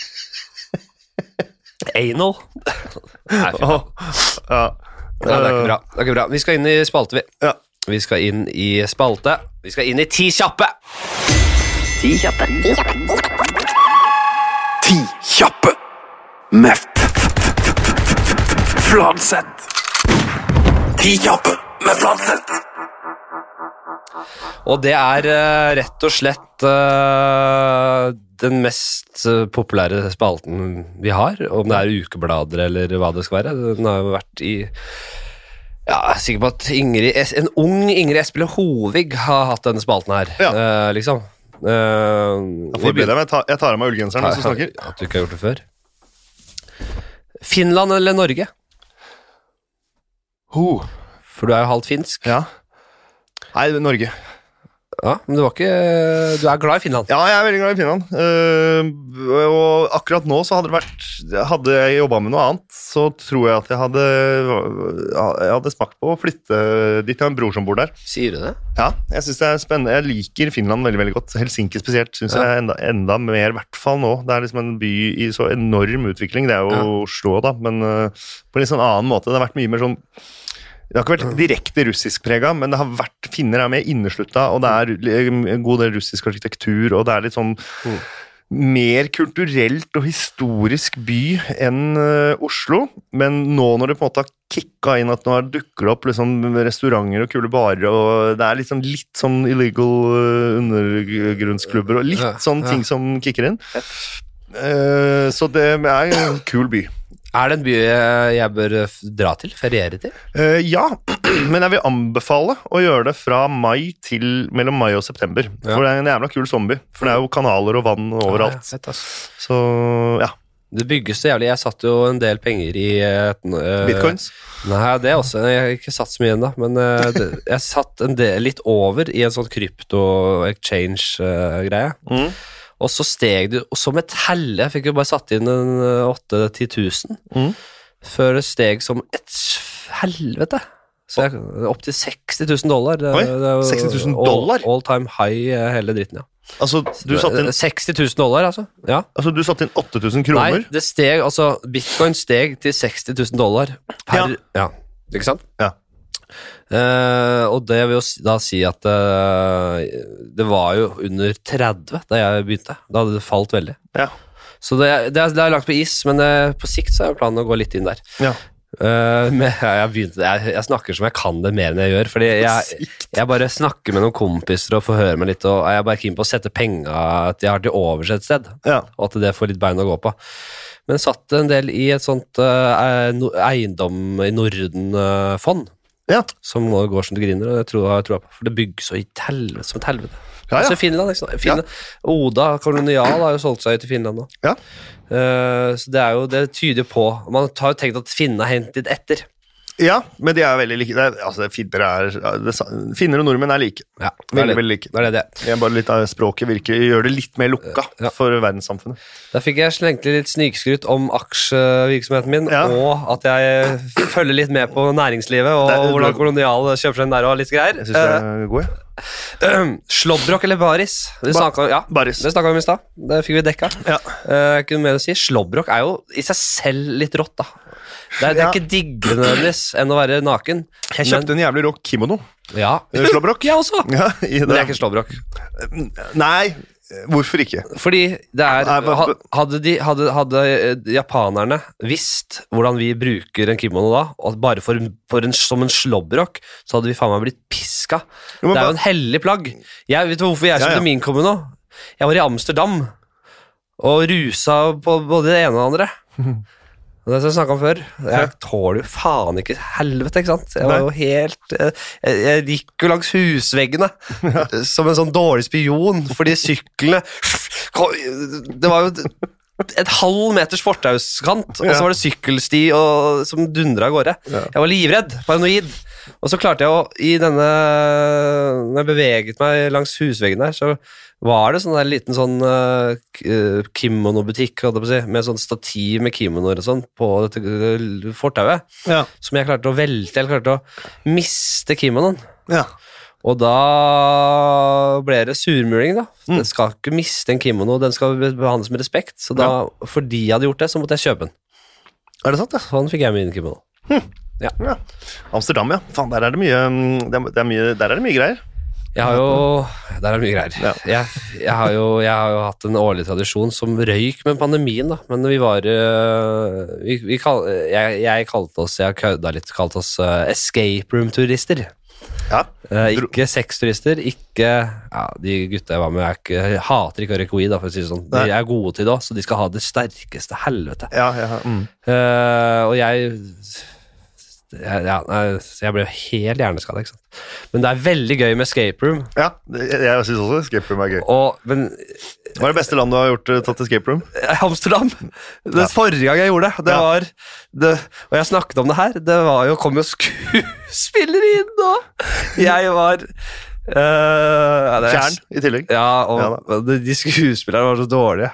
S1: Anal. Nei, fy faen.
S2: Ja.
S1: Nei, det er ikke bra. Det er ikke bra. Vi skal inn i spalte, vi.
S2: Ja.
S1: Vi skal inn i spalte. Vi skal inn i Ti kjappe.
S3: Ti kjappe. Ti kjappe.
S4: Ti kjappe med f- f- f- f- f- Fladseth. Ti kjappe med Fladseth.
S1: Og det er eh, rett og slett eh, den mest eh, populære spalten vi har. Om det er ukeblader eller hva det skal være. Den har jo vært i Ja, jeg er sikker på at Ingrid, Es- en ung Ingrid Espelid Hovig har hatt denne spalten her,
S2: Ja.
S1: eh, liksom. Eh,
S2: Jeg
S1: vi
S2: forbereder meg. Jeg tar, jeg tar av meg ullgenseren mens du snakker.
S1: begynner- At du ikke har gjort det før. Finland eller Norge? For du er jo halvt finsk.
S2: Ja. Nei, Norge.
S1: Ja, men du, var ikke, du er glad i Finland.
S2: Ja, jeg er veldig glad i Finland. Eh, og akkurat nå så hadde det vært Hadde jeg jobba med noe annet, så tror jeg at jeg hadde Jeg hadde smakt på å flytte dit. Jeg har en bror som bor der.
S1: Sier du det?
S2: Ja, jeg synes det er spennende. Jeg liker Finland veldig veldig godt. Helsinki spesielt syns jeg er enda, enda mer, i hvert fall nå. Det er liksom en by i så enorm utvikling. Det er jo Oslo, da, men øh, på en litt sånn annen måte. Det har vært mye mer sånn det har ikke vært direkte russisk prega, men det har vært, finner er mer inneslutta, og det er liksom, en god del russisk arkitektur, og det er litt sånn mer kulturelt og historisk by enn eh, Oslo. Men nå når det på en måte har kicka inn at nå har- dukker det opp liksom, restauranter og kule barer, og det er liksom litt sånn illegal eh, undergrunnsklubber og litt
S1: Ja,
S2: sånn
S1: ja.
S2: ting som kicker inn. Eh, så det er en kul by.
S1: Er det en by eh, jeg bør eh, f- dra til? Feriere til?
S2: Eh, ja, men jeg vil anbefale å gjøre det fra mai til mellom mai og september.
S1: Ja. Ah,
S2: For det er en jævla kul sommerby. For det er jo kanaler og vann
S1: Ja,
S2: overalt.
S1: fett, ass.
S2: Så ja.
S1: Det bygges så jævlig. Jeg satt jo en del penger i eh, eh,
S2: Bitcoins.
S1: Nei, det er også Jeg har ikke satt så mye ennå, men eh, det, jeg satt en del, litt over i en sånn krypto-exchange-greie.
S2: Mm.
S1: Og så steg det og som et helle. Jeg fikk jo bare satt inn en eh, 8 10 000
S2: Mhm.
S1: før det steg som et s- helvete. Så jeg, opp til 60 000 dollar. Det-
S2: Oi,
S1: det er jo
S2: 60 000 dollar?
S1: All, all time high, eh, hele dritten, ja.
S2: Altså, du satte inn,
S1: 60 000 dollar, altså? Ja.
S2: altså, du satte inn 8000 kroner?
S1: Nei, det steg, altså bitcoin steg til 60 000 dollar per Ja. Ikke sant?
S2: Ja.
S1: Eh, og det vil jo si- da si at eh, det var jo under 30 da jeg begynte. Da hadde det falt veldig.
S2: Ja.
S1: Så det, det, er, det er lagt på is, men eh, på sikt så er jo planen å gå litt inn der.
S2: Ja.
S1: Eh, men jeg, begynte, jeg, jeg snakker som jeg kan det mer enn jeg gjør. Fordi jeg, jeg bare snakker med noen kompiser og får høre meg litt, og jeg er bare keen på å sette penga jeg har til overs et sted
S2: Ja.
S1: og at det får litt bein å gå på. Men satt en del i et sånt eh, no- eiendom i Norden-fond,
S2: Ja.
S1: som nå går som det griner, og det tror jeg tror jeg på, for det bygges så i et helvete som et helvete.
S2: Ja, ja.
S1: Altså Finland, ikke sant? Finland. Oda kolonial har jo solgt seg ut i Finland nå.
S2: Ja.
S1: Eh, så det er jo, det tyder på, man har jo tenkt at finnene har hentet etter.
S2: ja, men de er veldig like. Det er, altså, finner, er, det, sa- finner og nordmenn er like.
S1: Ja, det
S2: Veldig,
S1: er det.
S2: veldig like.
S1: Det er det det. er.
S2: Det er bare litt av språket virker, gjør det litt mer lukka
S1: Ja.
S2: for verdenssamfunnet.
S1: Der fikk jeg slengt litt snikskryt om aksjevirksomheten min,
S2: Ja.
S1: og at jeg følger litt med på næringslivet og
S2: Det er-
S1: hvordan kolonial kjøper seg inn der og litt greier.
S2: Jeg synes det er god, ja.
S1: Slåbrok eller baris? Det
S2: Ba-
S1: snakka ja,
S2: Baris.
S1: det snakket vi om i stad. Det fikk vi dekka.
S2: Ja.
S1: Eh, ikke noe mer å si. Slåbrok er jo i seg selv litt rått, da. Det er, det er
S2: Ja.
S1: ikke diggere nødvendigvis enn å være naken.
S2: Jeg kjøpte en jævlig rå kimono.
S1: Men, ja.
S2: Eh, Slåbrok.
S1: Jeg også.
S2: Ja,
S1: Men
S2: i
S1: det er
S2: det.
S1: ikke slåbrok.
S2: Nei, hvorfor ikke?
S1: Fordi det er
S2: Nei, men-
S1: ha- Hadde, de, hadde, hadde eh, japanerne visst hvordan vi bruker en kimono da, og bare for, for en, som en slåbrok, så hadde vi faen meg blitt piska.
S2: Jo, men
S1: det er
S2: hva-
S1: jo en hellig plagg. Jeg Vet du hvorfor jeg
S2: Ja,
S1: kjøpte
S2: ja.
S1: min kimono? Jeg var i Amsterdam og rusa på både det ene og det andre. Og Det som jeg snakka om før. Jeg tåler jo faen ikke helvete, ikke sant. Jeg
S2: Nei.
S1: var jo helt eh, Jeg, jeg gikk jo langs husveggene som en sånn dårlig spion, fordi syklene kom- Det var jo et- et halv meters fortauskant, og
S2: Ja.
S1: så var det sykkelsti og, som dundra av gårde.
S2: Ja.
S1: Jeg var livredd, paranoid. Og så klarte jeg å I denne Når jeg beveget meg langs husveggen der, så var det sånn der liten sånn eh, k- eh, kimono-butikk, holdt jeg på å si, med sånn stativ med kimonoer og sånn på dette eh, fortauet,
S2: Ja.
S1: som jeg klarte å velte. Jeg klarte å miste kimonoen.
S2: Ja.
S1: Og da ble det surmuling, da.
S2: Mm.
S1: Den skal ikke miste en kimono, den skal behandles med respekt. Så da, fordi jeg hadde gjort det, så måtte jeg kjøpe den.
S2: Er det sant, ja?
S1: Sånn fikk jeg min kimono.
S2: ja. Amsterdam, ja. Faen, der er det mye, mm, det er, det er mye, der er det mye greier.
S1: Jeg har jo Der er det mye greier. Jeg, jeg, har jo, jeg har jo hatt en årlig tradisjon som røyk med pandemien, da. Men vi var øh, vi, vi kall, jeg, jeg kalte oss, jeg kødda litt, kalte oss øh, escape room-turister.
S2: Ja.
S1: Eh,
S2: Dro-
S1: ikke sexturister, ikke ja, De gutta jeg var med, er ikke, hater ikke å røyke weed, da, for å si det sånn. De
S2: Nei.
S1: er gode til det også, så de skal ha det sterkeste helvete.
S2: Ja, ja, mm.
S1: Eh, og jeg jeg, ja, nei, så jeg ble jo helt hjerneskada, ikke sant. Men det er veldig gøy med escape room.
S2: Ja, det- jeg, jeg syns også escape room er gøy.
S1: Og, men
S2: Hva er det beste landet du har gjort, eh, tatt escape room?
S1: Amsterdam Den forrige gang jeg gjorde det, det
S2: Ja.
S1: var det, Og jeg snakket om det her, det var jo kom jo skuespillere inn, og jeg var øh, ja, det er-
S2: Fjern i tillegg.
S1: Ja, og
S2: Ja
S1: de, de skuespillerne var så dårlige.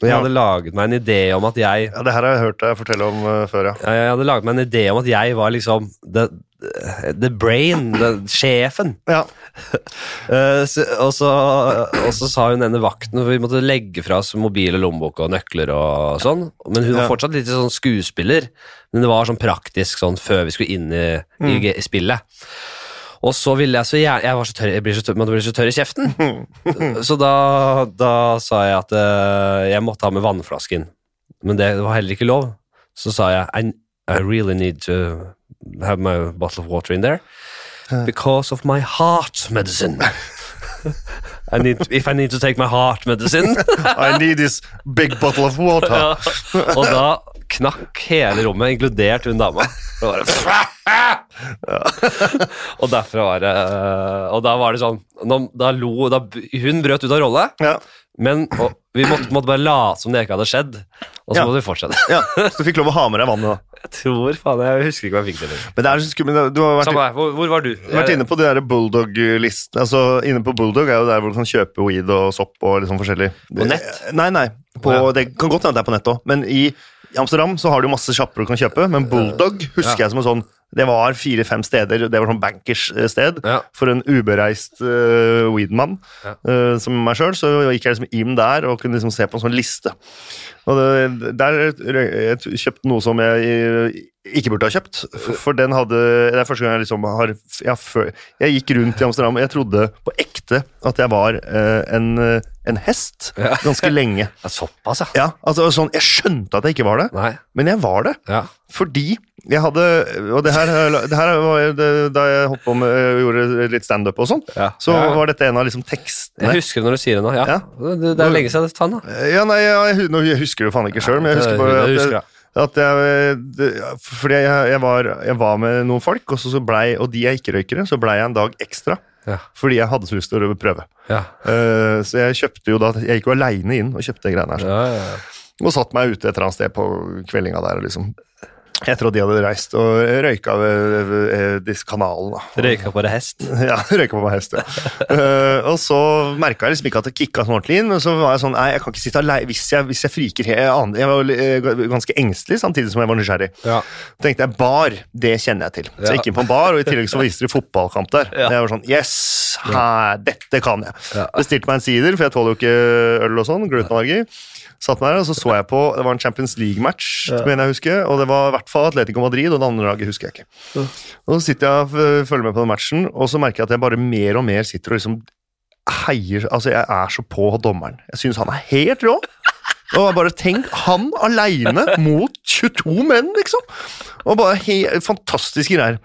S1: Men jeg
S2: Ja.
S1: hadde laget meg en idé om at jeg
S2: Ja, Det her har jeg hørt deg fortelle om eh, før, ja.
S1: jeg hadde laget meg en idé om at jeg var liksom the, the brain, the, sjefen.
S2: ja.
S1: Eh, så, og, så, og så sa hun ene vakten For vi måtte legge fra oss mobil og lommebok og nøkler og sånn. Men hun var
S2: Ja.
S1: fortsatt litt sånn skuespiller. Men det var sånn praktisk sånn før vi skulle inn i, i ge- spillet. Og så ville jeg så gjerne Jeg var så tørr, jeg blir så tørr, man blir så tørr i kjeften. så da, da sa jeg at eh, jeg måtte ha med vannflasken. Men det var heller ikke lov. Så sa jeg I, I really need to have my bottle of water in there because of my heart medicine. I need, if I need to take my heart medicine.
S2: I need this big bottle of
S1: Ja.
S2: water.
S1: Og da knakk hele rommet, inkludert hun dama. Det var bare- og derfra var det øh, Og da var det sånn nå- da lo, da, Hun brøt ut av rolle,
S2: Ja.
S1: men og, vi måtte, måtte bare late som det ikke hadde skjedd. Og så
S2: Ja.
S1: måtte vi fortsette.
S2: Ja. Så du fikk lov å ha med deg vannet, da.
S1: Jeg tror faen, jeg husker ikke hva jeg fikk til. eller.
S2: Men det er så skummelt. Du har vært,
S1: Samme her, hvor, hvor var du?
S2: vært inne på de der Bulldog-listen. Altså, inne på Bulldog er jo der hvor du kan kjøpe weed og sopp og liksom forskjellig.
S1: På nett?
S2: Nei, nei. På,
S1: Å, ja.
S2: Det kan godt hende det er på nett òg, men i Amsterdam så har du masse sjapper du kan kjøpe, men Bulldog husker jeg som en sånn det var fire-fem steder, det var sånn bankers eh, sted,
S1: Ja.
S2: for en ubereist eh, weed-mann eh, som meg sjøl. Så gikk jeg liksom inn der og kunne liksom se på en sånn liste. Og det, der rø- jeg t- kjøpte noe som jeg eh, ikke burde ha kjøpt, for, for den hadde Det er første gang jeg liksom har Jeg, har fø- jeg gikk rundt i Amsterdam, og jeg trodde på ekte at jeg var eh, en, eh, en hest ganske lenge.
S1: Ja, Såpass, ja.
S2: Ja, altså sånn, Jeg skjønte at jeg ikke var det,
S1: Nei.
S2: men jeg var det.
S1: Ja.
S2: Fordi jeg hadde Og det her, det her var jo det- da jeg holdt på med, gjorde litt standup og sånn,
S1: Ja.
S2: så
S1: Ja, ja.
S2: var dette en av liksom tekstene.
S1: Jeg husker det når du sier det nå. Ja.
S2: Ja.
S1: Det, det er lenge siden. Ta den, da.
S2: Ja, nei, jeg, hu- nå husker du faen ikke sjøl, men jeg husker
S1: Ja,
S2: bare
S1: jeg
S2: at
S1: husker
S2: jeg, at jeg det- Fordi jeg, jeg, var, jeg var med noen folk, og, så, så blei- og de er ikke-røykere, så blei jeg en dag ekstra.
S1: Ja.
S2: Fordi jeg hadde så lyst til å prøve.
S1: Ja.
S2: Eh, så jeg kjøpte jo da Jeg gikk jo aleine inn og kjøpte de greiene her.
S1: Ja, ja, ja.
S2: Og satt meg ute et eller annet sted på kveldinga der. og liksom Etter at de hadde reist og røyka ved, ved, ved disse kanalen, da.
S1: Røyka bare hest.
S2: Ja, røyka på meg hest, ja. Eh, og så merka jeg liksom ikke at det kicka sånn ordentlig inn, men så var jeg sånn Nei, jeg kan ikke sitte aleine hvis, jeg- hvis jeg friker helt jeg aner- Jeg var jo, eh, ganske engstelig samtidig som jeg var nysgjerrig.
S1: Ja.
S2: tenkte jeg bar, det kjenner jeg til. Så jeg gikk inn på en bar, og i tillegg så viste de fotballkamp der.
S1: Ja.
S2: Jeg var sånn Yes, her, dette kan jeg.
S1: Ja.
S2: Bestilte meg en sider, for jeg tåler jo ikke øl og sånn. Glutenallergi. Satt meg der, og så så jeg på Det var en Champions League-match, mener jeg husker, og det var i hvert fall Atletico Madrid, og det andre laget husker jeg ikke. Og så sitter jeg og f- følger med på den matchen, og så merker jeg at jeg bare mer og mer sitter og liksom heier Altså, jeg er så på dommeren. Jeg syns han er helt rå. Og jeg bare tenk, han aleine mot 22 menn, liksom! Og bare he fantastiske greier.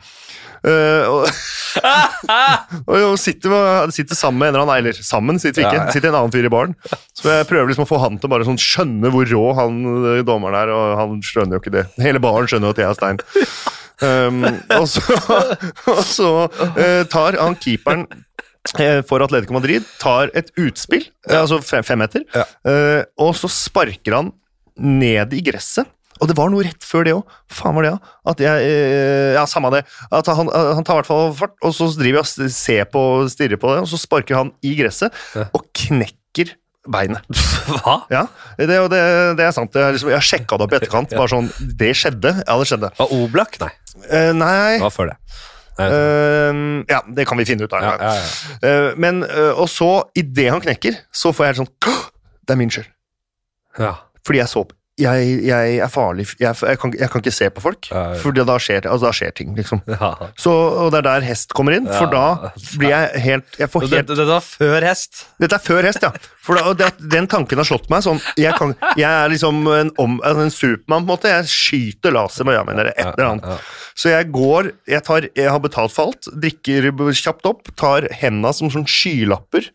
S2: Eh, og, og jeg sitter, med- sitter sammen med en eller annen Eller sammen sitter vi ikke.
S1: Ja, ja.
S2: Sitter en annen fyr i baren. Så jeg prøver liksom å få han til å bare sånn skjønne hvor rå han eh, dommeren er, og han skjønner jo ikke det. Hele baren skjønner jo at jeg er Stein. Um, og så, og så eh, tar han keeperen eh, for Atletico Madrid tar et utspill, eh, altså fem, fem meter, eh, og så sparker han ned i gresset. Og det var noe rett før det òg. Faen var det, ja. At jeg, eh, ja, samme det. At han, eh, han tar i hvert fall fart, og så driver jeg og s- ser på og stirrer på det, og så sparker han i gresset og knekker beinet.
S1: Hva?
S2: Ja, det, og det, det er sant. Jeg, har liksom, jeg har sjekka det opp i etterkant. Bare sånn Det skjedde. Ja, det skjedde.
S1: Var Oblak? Nei,
S2: Eh, nei
S1: det var før det. Nei,
S2: Eh, ja, det kan vi finne ut av.
S1: Ja, ja,
S2: Eh, men, eh, og så, idet han knekker, så får jeg helt sånn «Åh, Det er min skyld.
S1: ja.
S2: Fordi jeg så på. Jeg, jeg er farlig. Jeg, jeg, kan, jeg kan ikke se på folk,
S1: Ja, ja.
S2: for da skjer, altså, da skjer ting, liksom.
S1: ja.
S2: Så, og det er der hest kommer inn, for
S1: Ja.
S2: da blir jeg helt Jeg får helt
S1: Dette, dette var før hest.
S2: Dette er før hest, ja. For da, og det, den tanken har slått meg sånn Jeg, kan, jeg er liksom en, om, altså en supermann, på en måte. Jeg skyter laser med øynene mine, eller et eller
S1: Ja, ja, ja.
S2: annet. Så jeg går jeg, tar, jeg har betalt for alt, drikker kjapt opp, tar henda som sånn skylapper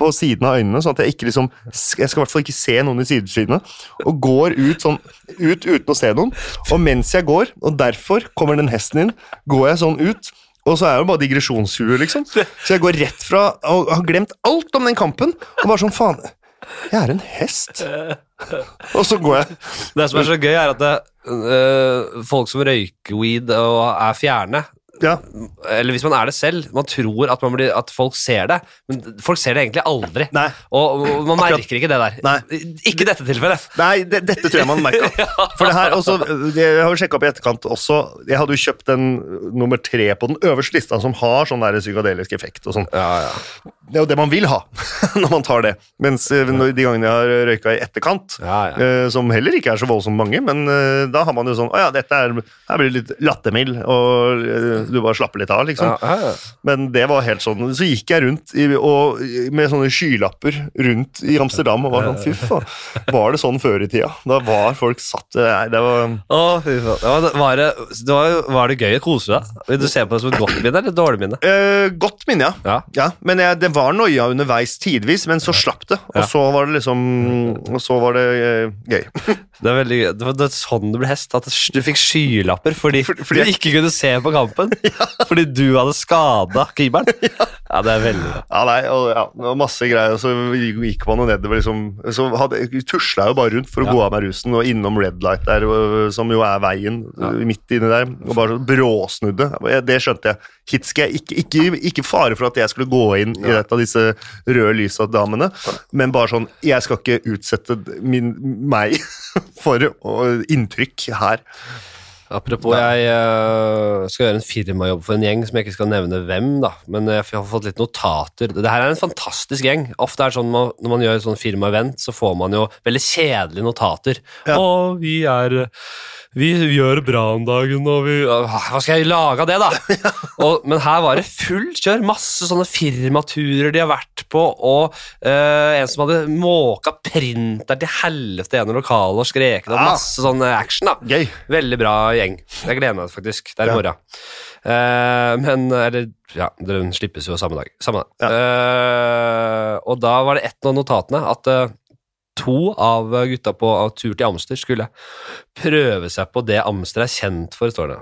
S2: på siden av øynene, sånn at jeg ikke liksom Jeg skal i hvert fall ikke se noen i sideskinnet. Og går ut sånn ut uten å se noen. Og mens jeg går, og derfor kommer den hesten inn, går jeg sånn ut. Og så er det bare digresjonshue, liksom. Så jeg går rett fra og har glemt alt om den kampen. Og bare sånn, faen Jeg er en hest. Og så går jeg.
S1: Det som er så gøy, er at det, øh, folk som røyker weed og er fjerne
S2: Ja.
S1: Eller hvis man er det selv, man tror at, man blir, at folk ser det, men folk ser det egentlig aldri.
S2: Nei.
S1: Og, og man
S2: Akkurat.
S1: merker ikke det der.
S2: Nei.
S1: Ikke i dette tilfellet.
S2: Nei, det, dette tror jeg man merka. For det her, også, jeg har jo sjekka opp i etterkant også. Jeg hadde jo kjøpt den nummer tre på den øverste lista, som har sånn der psykadelisk effekt og sånn. Det er jo det man vil ha når man tar det. Mens eh, når, de gangene jeg har røyka i etterkant,
S1: Ja, ja.
S2: eh, som heller ikke er så voldsomt mange, men eh, da har man jo sånn Å ja, dette er, her blir det litt lattermild, og eh, du bare slapper litt av, liksom. Men det var helt sånn Så gikk jeg rundt i, og, med sånne skylapper rundt i Amsterdam og var sånn Fy faen, var det sånn før i tida? Da var folk satt Nei, det var
S1: Å, fy faen. Ja, men Var det, det var, var det gøy å kose deg? Vil du se på det som et godt minne eller et dårlig minne?
S2: Eh, godt minne, ja.
S1: Ja.
S2: ja men jeg, det var noia underveis tidvis, men så slapp det. Og
S1: Ja.
S2: så var det liksom Og så var det eh, gøy.
S1: Det er veldig gøy. Det var, det var sånn du ble hest. At du fikk skylapper fordi,
S2: fordi
S1: du ikke kunne se på kampen. Fordi du hadde skada keeperen. Ja. det er veldig bra.
S2: Ja, nei, og, ja, det var masse greier, og så gikk man jo nedover, liksom. Så hadde, tusla jeg jo bare rundt for å
S1: Ja.
S2: gå av meg rusen, og innom red light der, og- øh, som jo er veien øh, midt inni der, og bare så bråsnudde. Jeg- Det skjønte jeg. Hit skal jeg ikke, ikke, ikke fare for at jeg skulle gå inn i et av disse røde lysa damene, men bare sånn, jeg skal ikke utsette min, meg for å- inntrykk her.
S1: Apropos, jeg eh, skal gjøre en firmajobb for en gjeng som jeg ikke skal nevne hvem, da. Men eh, jeg har fått litt notater. Dette her er en fantastisk gjeng. Ofte er det sånn man, når man gjør sånn firmaevent, så får man jo veldig kjedelige notater.
S2: Ja.
S1: Å, vi er Vi gjør det bra om dagen, og vi Åh, Hva skal jeg lage av det, da? og, men her var det fullt kjør. Masse sånne firmaturer de har vært på, og eh, en som hadde måka printer til helvete i ene lokalet og skreket og
S2: Ja.
S1: masse sånn action, da.
S2: Gøy.
S1: Veldig bra gjeng. Jeg gleder meg faktisk. Det er i
S2: Ja.
S1: morgen. Eh, men Eller ja, den slippes jo samme dag. Samme dag. Eh, og da var det ett av notatene at eh, to av gutta på av tur til Amster skulle prøve seg på det Amster er kjent for, står det.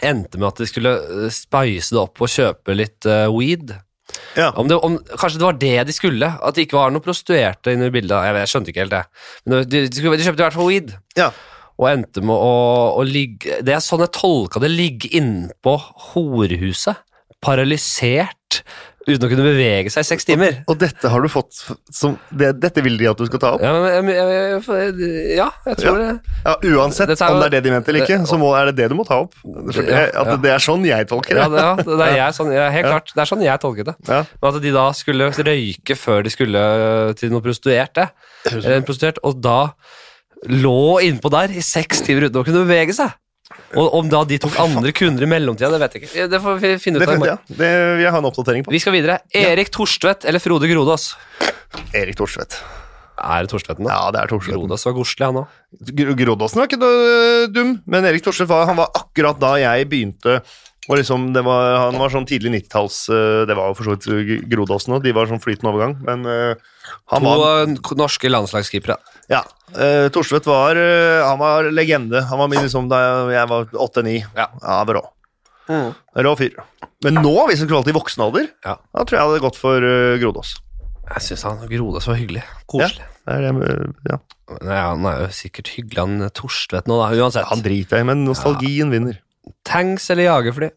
S1: Endte med at de skulle eh, spice det opp og kjøpe litt eh, weed.
S2: Ja.
S1: Om det, om, kanskje det var det de skulle? At det ikke var noen prostituerte inne i bildet? Jeg, vet, jeg skjønte ikke helt det. Men de, de, skulle, de kjøpte i hvert fall weed
S2: Ja.
S1: og endte med å, å ligge Det er sånn jeg tolka det. Ligge innpå horehuset. Paralysert. Uten å kunne bevege seg i seks timer.
S2: Og dette har du fått som, det, Dette vil de at du skal ta opp?
S1: Ja, men, jeg, jeg, jeg, ja jeg tror det.
S2: Ja, Uansett
S1: Dette er jo-
S2: om det er det de mente eller ikke, så må, er det det du må ta opp.
S1: Ja,
S2: Jeg- At
S1: ja.
S2: det er sånn jeg tolker
S1: Ja,
S2: det.
S1: det, ja, det er jeg, sånn, ja, helt klart. Det er sånn jeg tolket det.
S2: Ja.
S1: Men at de da skulle røyke før de skulle til noen prostituerte, eller en prostituert, og da lå innpå der i seks timer uten å kunne bevege seg. Og om da de tok andre kunder i mellomtida, det vet jeg ikke. Det får vi finne ut
S2: Det,
S1: av i
S2: fin- ja,
S1: morgen.
S2: det vil jeg ha en oppdatering på.
S1: Vi skal videre. Erik Torstvedt eller Frode Grodås?
S2: Erik Thorstvedt.
S1: Er det Torstvedten, da?
S2: Ja, det er Thorstvedt.
S1: Grodås var godslig, han òg.
S2: Gro- Grodåsen var ikke noe eh, dum, men Erik Thorstvedt var, han var akkurat da jeg begynte og liksom, det var, Han var sånn tidlig 90-talls eh, Det var jo for så vidt Grodåsen òg, de var sånn flytende overgang, men eh, han
S1: To
S2: var
S1: eh, k- norske landslagskeepere.
S2: Ja. Uh, Thorstvedt var, eh, han var legende. Han var min liksom da jeg- jeg var åtte-ni.
S1: Ja.
S2: han var rå. Rå fyr. Men nå, hvis du skulle valgt i voksen alder,
S1: Ja.
S2: da tror jeg hadde gått for eh, Grodås.
S1: Jeg syns han Grodås var hyggelig. Koselig.
S2: Det er det, med- ja.
S1: Nei, han er jo sikkert hyggelig, han Torstvedt nå, da. Uansett.
S2: Han driter jeg i, men nostalgien vinner.
S1: Tanks eller jagerfly?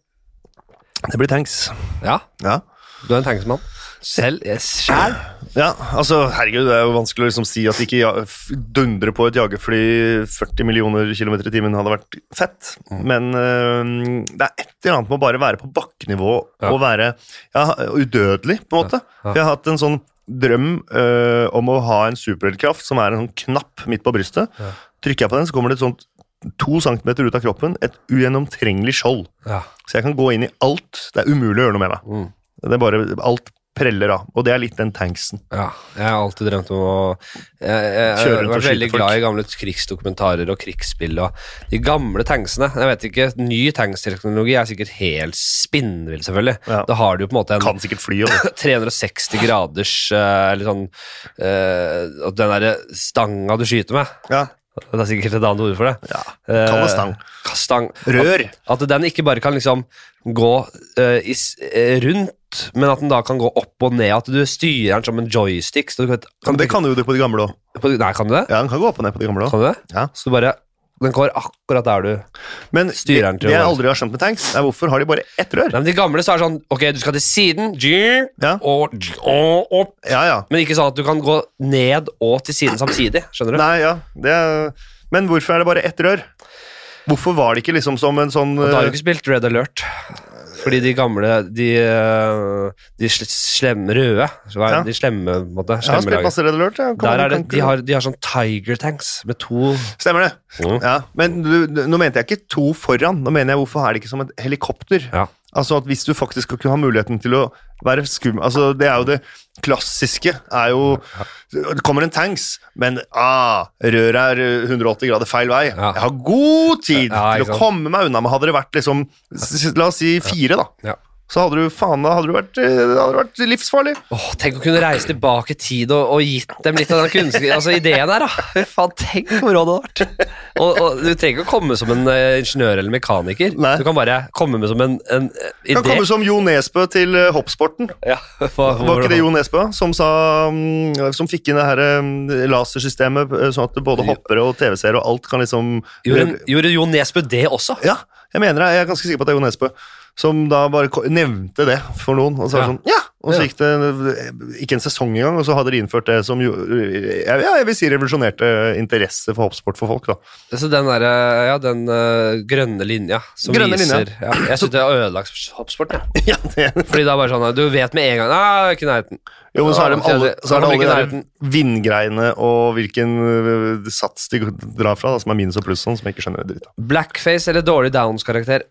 S2: Det blir tanks.
S1: Ja,
S2: Ja.
S1: du er en tanksmann. Selv? eh, Sjæl?
S2: ja, altså, herregud, det er jo vanskelig å liksom si at ikke ja- f- dundre på et jagerfly 40 millioner kilometer i timen hadde vært fett,
S1: Mm.
S2: men eh, det er et eller annet med å bare være på bakkenivå
S1: Ja.
S2: og være ja, udødelig, på en måte.
S1: Ja.
S2: For jeg har hatt en sånn drøm eh, om å ha en superheltkraft som er en sånn knapp midt på brystet.
S1: Ja.
S2: Trykker jeg på den, så kommer det et sånt to centimeter ut av kroppen, et ugjennomtrengelig skjold.
S1: Ja.
S2: Så jeg kan gå inn i alt. Det er umulig å gjøre noe med meg.
S1: Mm.
S2: Det er bare alt preller av. Og det er litt den tanksen.
S1: Ja, jeg har alltid drømt om å Jeg, jeg, jeg
S2: Kjøre
S1: har
S2: rundt og
S1: vært
S2: skyte
S1: veldig
S2: folk.
S1: glad i gamle krigsdokumentarer og krigsspill og de gamle tanksene. Jeg vet ikke, Ny tanksteknologi er sikkert helt spinnvill, selvfølgelig.
S2: Ja.
S1: Da har du jo på en måte en
S2: Kan sikkert fly og det.
S1: 360 graders eh, Eller sånn eh, og Den derre stanga du skyter med.
S2: Ja.
S1: Det er sikkert et annet ord for det.
S2: Ja, kall det stang.
S1: Eh, stang.
S2: Rør.
S1: At, at den ikke bare kan liksom gå eh, i, s- eh, rundt, men at den da kan gå opp og ned. At du styrer den som en joystick. Så du kan,
S2: Men det kan jo det på de gamle òg.
S1: på, Nei, kan du det?
S2: Ja, den kan gå opp og ned på de gamle også.
S1: Kan du det?
S2: Ja.
S1: Så du bare Den går akkurat der du Nei,
S2: Men det,
S1: Styrer den til
S2: det
S1: å
S2: jeg
S1: være-
S2: aldri har skjønt med tanks, er hvorfor har de bare ett rør?
S1: men De gamle så er det sånn Ok, du skal til siden, djur,
S2: Ja.
S1: og, djur, og opp.
S2: Ja, ja.
S1: Men ikke sånn at du kan gå ned og til siden samtidig. Skjønner du?
S2: Nei, ja. Det er, men hvorfor er det bare ett rør? Hvorfor var det ikke liksom som en sånn
S1: Og Da har du
S2: eh,
S1: ikke spilt Red Alert. Fordi de gamle De, eh, de sl- slemme røde hva er det?
S2: Ja.
S1: De slemme, på en måte.
S2: Jeg har
S1: Slemme
S2: spilt
S1: laget.
S2: masse Red Alert. ja. Kan-
S1: Der er det,
S2: kan ikke-
S1: de, har, de har sånn Tiger Tanks med to
S2: Stemmer det.
S1: Mm.
S2: Ja, men du, du- nå mente jeg ikke to foran. Nå mener jeg hvorfor er det ikke som et helikopter?
S1: Ja.
S2: Altså at Hvis du faktisk skal kunne ha muligheten til å være skum... Altså Det er jo det klassiske. er jo, Det kommer en tanks, men ah, røret er eh, 180 grader feil vei.
S1: Ja.
S2: Jeg har god tid
S1: Ja,
S2: til
S1: ikke
S2: å
S1: sant.
S2: komme meg unna. Men hadde det vært liksom s- La oss si fire, da.
S1: Ja.
S2: Så hadde du faen da hadde du vært, eh, det hadde vært livsfarlig.
S1: Åh, Tenk å kunne reise tilbake i tid og, og gitt dem litt av den kunnskapen Altså ideen her, da. Fy faen, tenk hvor rå det hadde vært. Og, og du trenger ikke å komme som en eh, ingeniør eller mekaniker.
S2: Nei.
S1: Du kan bare komme med som en, en eh, idé.
S2: Kan komme som Jo Nesbø til eh, hoppsporten.
S1: ja, for,
S2: Var ikke det Jo Nesbø som, sa, mm, som fikk inn det her eh, lasersystemet, eh, sånn at både hoppere og TV-seere og alt kan liksom
S1: Gjorde, gjorde Jo Nesbø det også?
S2: Ja, jeg mener det. Jeg er ganske sikker på at det er Jo Nesbø. Som da bare ko- nevnte det for noen. Og så, var det sånn, ja. og så
S1: Ja.
S2: gikk det eh, ikke en sesong engang, og så hadde de innført det som jo, eh, ja, jeg vil si revolusjonerte interesse for hoppsport for folk. da.
S1: Så den derre Ja, den eh, grønne linja som
S2: Grønne
S1: viser
S2: linja.
S1: ja, Jeg syns det har ødelagt hoppsporten. Ja.
S2: Ja, det
S1: Fordi det er bare sånn Du vet med en gang Nei, ikke i nærheten.
S2: Jo, men så er
S1: Ja,
S2: det alle,
S1: det-
S2: så er
S1: det kommer
S2: det alle de
S1: ikke i
S2: der
S1: nærheten.
S2: vindgreiene og hvilken øh, sats de drar fra, da, som er minus og pluss, sånn, som jeg ikke skjønner dritt av.
S1: Blackface eller dårlig downs-karakter?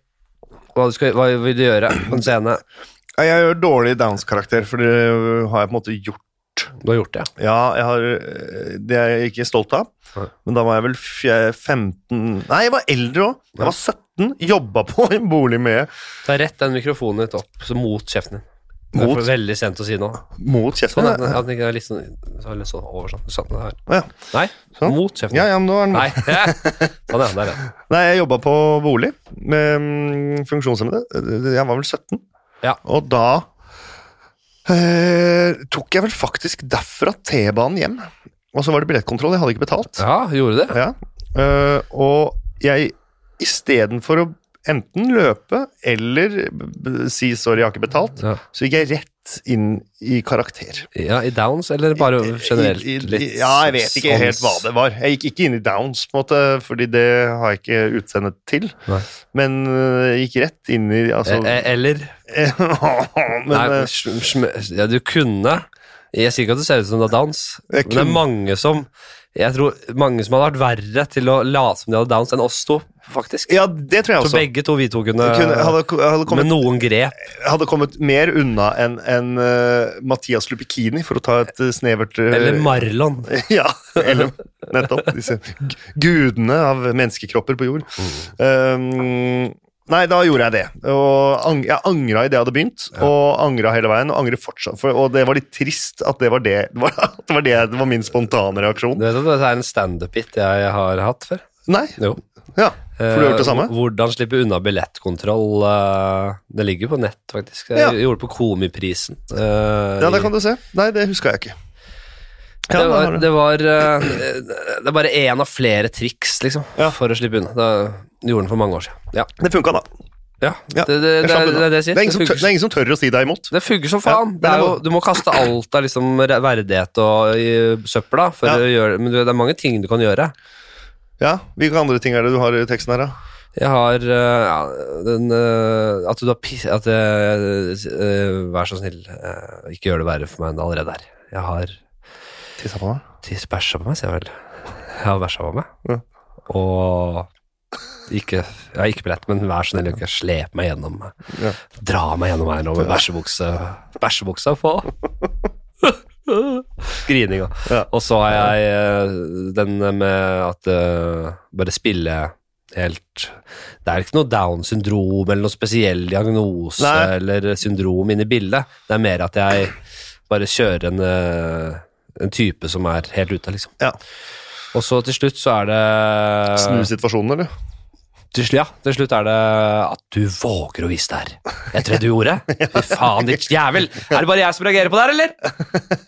S1: Hva, du skal- hva vil du gjøre på en scene?
S2: Nei, Jeg gjør dårlig Downs-karakter, for det øh, har jeg på en måte gjort.
S1: Du har gjort det, ja.
S2: Ja, jeg har, øh, det er jeg ikke stolt av,
S1: Nei.
S2: men da var jeg vel fje- 15 Nei, jeg var eldre òg. Jeg var 17, jobba på en bolig med
S1: Ta rett den mikrofonen litt opp, så mot kjeften din. Det er
S2: Mot?
S1: for veldig sent å si nå.
S2: mot
S1: Sånn,
S2: kjeften.
S1: at den-
S2: jeg.
S1: at den ikke er litt sånn, så er det litt sånn over sånn. sånn den er.
S2: Ja,
S1: Nei,
S2: Sånn.
S1: mot kjeften.
S2: ja, ja, men nå er den
S1: Nei. Sånn, ja. Der, ja.
S2: Nei, jeg jobba på bolig med mm, funksjonshemmede. Jeg var vel 17.
S1: Ja.
S2: Og da eh, tok jeg vel faktisk derfra T-banen hjem. Og så var det billettkontroll, jeg hadde ikke betalt.
S1: ja, gjorde du det?
S2: Ja. Eh, og jeg istedenfor å enten løpe eller b- b- si 'sorry, jeg har ikke betalt',
S1: Ja.
S2: så gikk jeg rett inn i karakter.
S1: ja, I downs, eller bare generelt?
S2: I, i, i,
S1: litt sånn
S2: ja, jeg vet ikke helt hva det var. Jeg gikk ikke inn i downs, på en måte, fordi det har jeg ikke utseendet til.
S1: Nei.
S2: Men øh, jeg gikk rett inn i altså,
S1: Eh, eh, Eller
S2: Men
S1: nei,
S2: øh,
S1: sm- sm- ja, Du kunne Jeg sier ikke at det ser ut som det er dans, men
S2: Jeg
S1: det er
S2: kunne-
S1: mange som Jeg tror mange som hadde vært verre til å late som de hadde downs, enn oss to, faktisk.
S2: ja, det tror jeg
S1: Så
S2: også.
S1: begge eh, to vi to kunne,
S2: Jeg kunne, hadde, hadde,
S1: med
S2: kommet,
S1: noen grep.
S2: hadde kommet mer unna enn enn, øh, Mathias Lupikini, for å ta et øh, snevert øh,
S1: Eller Marlon.
S2: Ja, eller nettopp. Disse g- gudene av menneskekropper på jord.
S1: Mm.
S2: Um, nei, da gjorde jeg det. Og ang jeg angra idet jeg hadde begynt, og angra hele veien. Og angrer fortsatt. For, og det var litt trist at det var det, det var, at det var, det, det var min spontane
S1: Du
S2: reaksjon.
S1: vet at dette er en standup-hit jeg har hatt før?
S2: Nei.
S1: Jo.
S2: Ja. For du har gjort det samme?
S1: Hvordan slippe unna billettkontroll. eh, Det ligger på nett, faktisk. Jeg
S2: Ja.
S1: gjorde det på Komiprisen. eh,
S2: Ja,
S1: i-
S2: det kan du se. Nei, det huska jeg ikke. Ja,
S1: det
S2: da
S1: var,
S2: har du.
S1: det, var eh, det er bare én av flere triks, liksom,
S2: Ja.
S1: for å slippe unna. Det gjorde den for mange år siden. Ja.
S2: Det funka, da.
S1: ja.
S2: Ja,
S1: Det, det,
S2: Jeg
S1: det,
S2: slapp
S1: er-
S2: unna.
S1: det er det jeg
S2: det
S1: sier.
S2: er ingen som
S1: Det
S2: tør- det
S1: funker,
S2: er ingen som tør å si deg imot.
S1: det funker som
S2: Ja,
S1: faen.
S2: men
S1: det
S2: det
S1: er jo,
S2: må-
S1: du må kaste alt av liksom, re- verdighet og i søpla, for
S2: Ja.
S1: å gjøre, men du, det er mange ting du kan gjøre.
S2: Ja, Hvilke andre ting er det du har i teksten her, da?
S1: Jeg har eh, ja, den, eh, At du har piss... At, eh, eh, vær så snill, eh, ikke gjør det verre for meg enn det allerede er. Jeg har
S2: Tissa på meg?
S1: tiss bæsja på meg, sier jeg vel. Jeg har bæsja på meg.
S2: Ja.
S1: Og ikke, jeg har ikke billett, men vær så snill, ikke slep meg gjennom.
S2: Ja.
S1: Dra meg gjennom her nå med bæsjebukse, bæsjebuksa på. Grininga.
S2: Ja.
S1: Og så har jeg eh, den med at eh, bare spille helt Det er ikke noe Down syndrom eller noe spesiell diagnose
S2: Nei.
S1: eller syndrom inne i bildet. Det er mer at jeg bare kjører en, eh, en type som er helt ute, liksom.
S2: Ja.
S1: Og så til slutt så er det
S2: Snu situasjonen, eller?
S1: til slutt, ja, til slutt er det at du våger å vise det her. Etter det du gjorde. Fy faen, ditt jævel. Er det bare jeg som reagerer på det her, eller?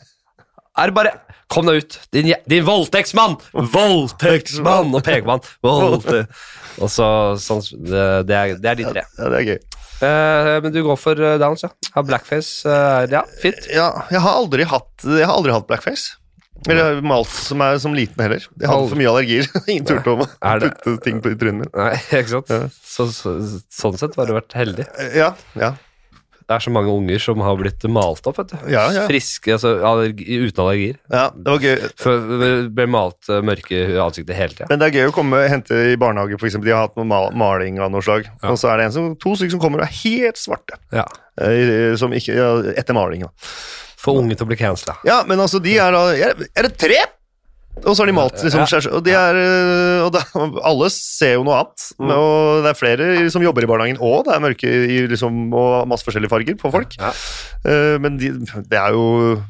S1: Er det bare Kom deg ut, din, jæ- din voldtektsmann! Voldtektsmann! Og pekemann. Voldte- Og så sånn Det, det, er, det er de tre.
S2: Ja, det er gøy.
S1: Eh, men du går for eh, downs, ja. Har blackface. eh, ja, fint.
S2: Ja, jeg har aldri hatt, jeg har aldri hatt blackface. Eller malt som, er, som liten heller. Jeg hadde for mye allergier. Ingen turte å
S1: Er det-
S2: putte ting på i trynet mitt.
S1: Nei, ikke sant? Så, så, sånn sett har du vært heldig.
S2: Ja, ja.
S1: Det er så mange unger som har blitt malt opp, vet du.
S2: Ja, ja.
S1: Friske, altså allergi, uten allergier.
S2: ja, det var gøy.
S1: Før ble malt eh, mørke i ansiktet hele tida.
S2: Men det er gøy å komme og hente i barnehage, for eksempel. De har hatt noe ma- maling av noe slag. Og så er det en som, to stykker som kommer og er helt svarte.
S1: Ja.
S2: Eh, Som ikke, ja, etter maling, da.
S1: Få unge til å bli cancela.
S2: Ja, men altså, de er da Er, er det tre? Og så har de malt, liksom.
S1: Eh, Ja.
S2: skjær- Og, de er, øh, og da, alle ser jo noe annet.
S1: Mm.
S2: Og det er flere som jobber i barnehagen òg. Det er mørke i, liksom, og masse forskjellige farger på folk.
S1: Ja.
S2: Eh, Men de, det er jo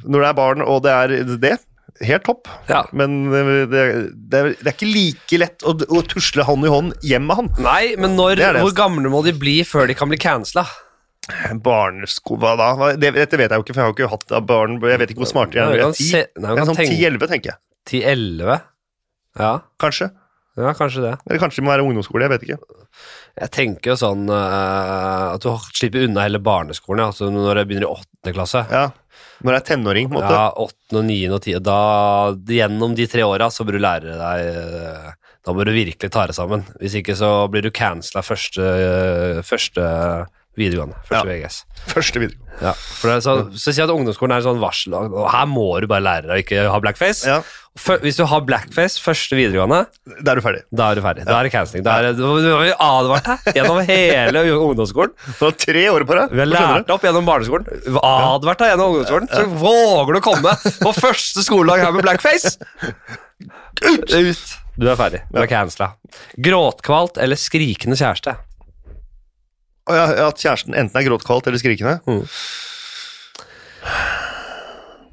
S2: Når det er barn, og det er det Helt topp,
S1: Ja.
S2: men det, det, er, det er ikke like lett å, å tusle hånd i hånd hjem med han.
S1: Nei, men når,
S2: Det er det.
S1: hvor gamle må de bli før de kan bli cancela?
S2: Barnesko, hva da? Hva- Det, dette vet jeg jo ikke, for jeg har jo ikke hatt av barn Jeg vet ikke hvor smarte jeg
S1: Nei,
S2: er. Jeg
S1: man
S2: er ti.
S1: se- nei, man
S2: Jeg er
S1: kan
S2: sånn
S1: tenke-
S2: 10-11, tenker jeg.
S1: 10-11? Ja.
S2: Kanskje.
S1: ja, kanskje det.
S2: Eller kanskje det må være ungdomsskole, jeg vet ikke.
S1: Jeg tenker jo sånn eh, at du slipper unna hele barneskolen ja. altså når jeg begynner i åttende klasse.
S2: Ja. Når det er tenåring, på en måte.
S1: Ja, åttende og niende og tiende. Da, gjennom de tre åra så bør du lære deg eh, Da må du virkelig ta deg sammen. Hvis ikke så blir du cancela første, første videregående. Første VGS.
S2: Første video.
S1: Ja, for det er sånn, så sier jeg at ungdomsskolen er en sånn varsel og og Her må du bare lære deg å ikke ha blackface
S2: Ja.
S1: Fø- Hvis du har blackface første videregående
S2: Da er du ferdig.
S1: Da er du ferdig, da er det cancelling Da er det, du har vi advart deg gjennom hele ungdomsskolen
S2: Du har tre år på deg.
S1: Vi har lært deg opp gjennom barneskolen Advart deg gjennom ungdomsskolen Så våger du å komme på første skoledag her med blackface Ut! Ut! Du er ferdig, du er cancela Gråtkvalt eller skrikende kjæreste
S2: Og ja, ja, at kjæresten enten er gråtkvalt eller skrikende.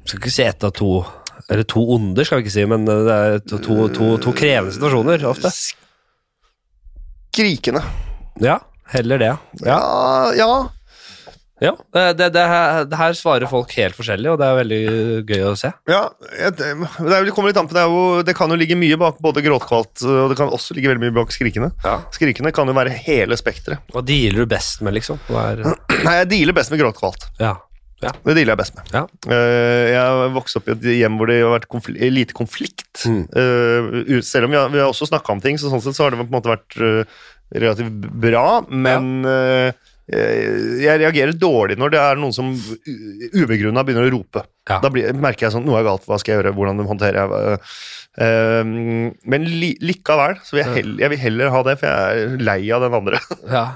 S1: Skal ikke si ett av to Eller to onder skal vi ikke si Men eh, det er to, to, to, to krevende situasjoner ofte
S2: Skrikende.
S1: Ja, heller det.
S2: Ja, ja.
S1: Ja, eh, det, det, det, her, det her svarer folk helt forskjellig, og det er veldig gøy å se.
S2: ja. jeg- Det er jo- det kommer litt an på. Det, er jo, det kan jo ligge mye bak både gråtkvalt og det kan også ligge veldig mye bak skrikende.
S1: Ja.
S2: Skrikende kan jo være hele spekteret.
S1: Hva dealer du best med, liksom? Hva er,
S2: Nei, jeg dealer best med gråtkvalt.
S1: ja.
S2: Det dealer jeg best med.
S1: Ja.
S2: Eh, jeg vokste opp i et hjem hvor det har vært konfl lite konflikt.
S1: Mm.
S2: Eh, ut- selv om vi har, vi har også snakka om ting, så sånn sett så har det på en måte vært eh, relativt bra. Men eh, eh, jeg reagerer dårlig når det er noen som ubegrunna begynner å rope.
S1: Ja.
S2: Da blir, merker jeg sånn Noe er galt, hva skal jeg gjøre, hvordan håndterer jeg eh, eh, Men li, likevel, så vil jeg, hell, jeg vil heller ha det, for jeg er lei av den andre.
S1: ja.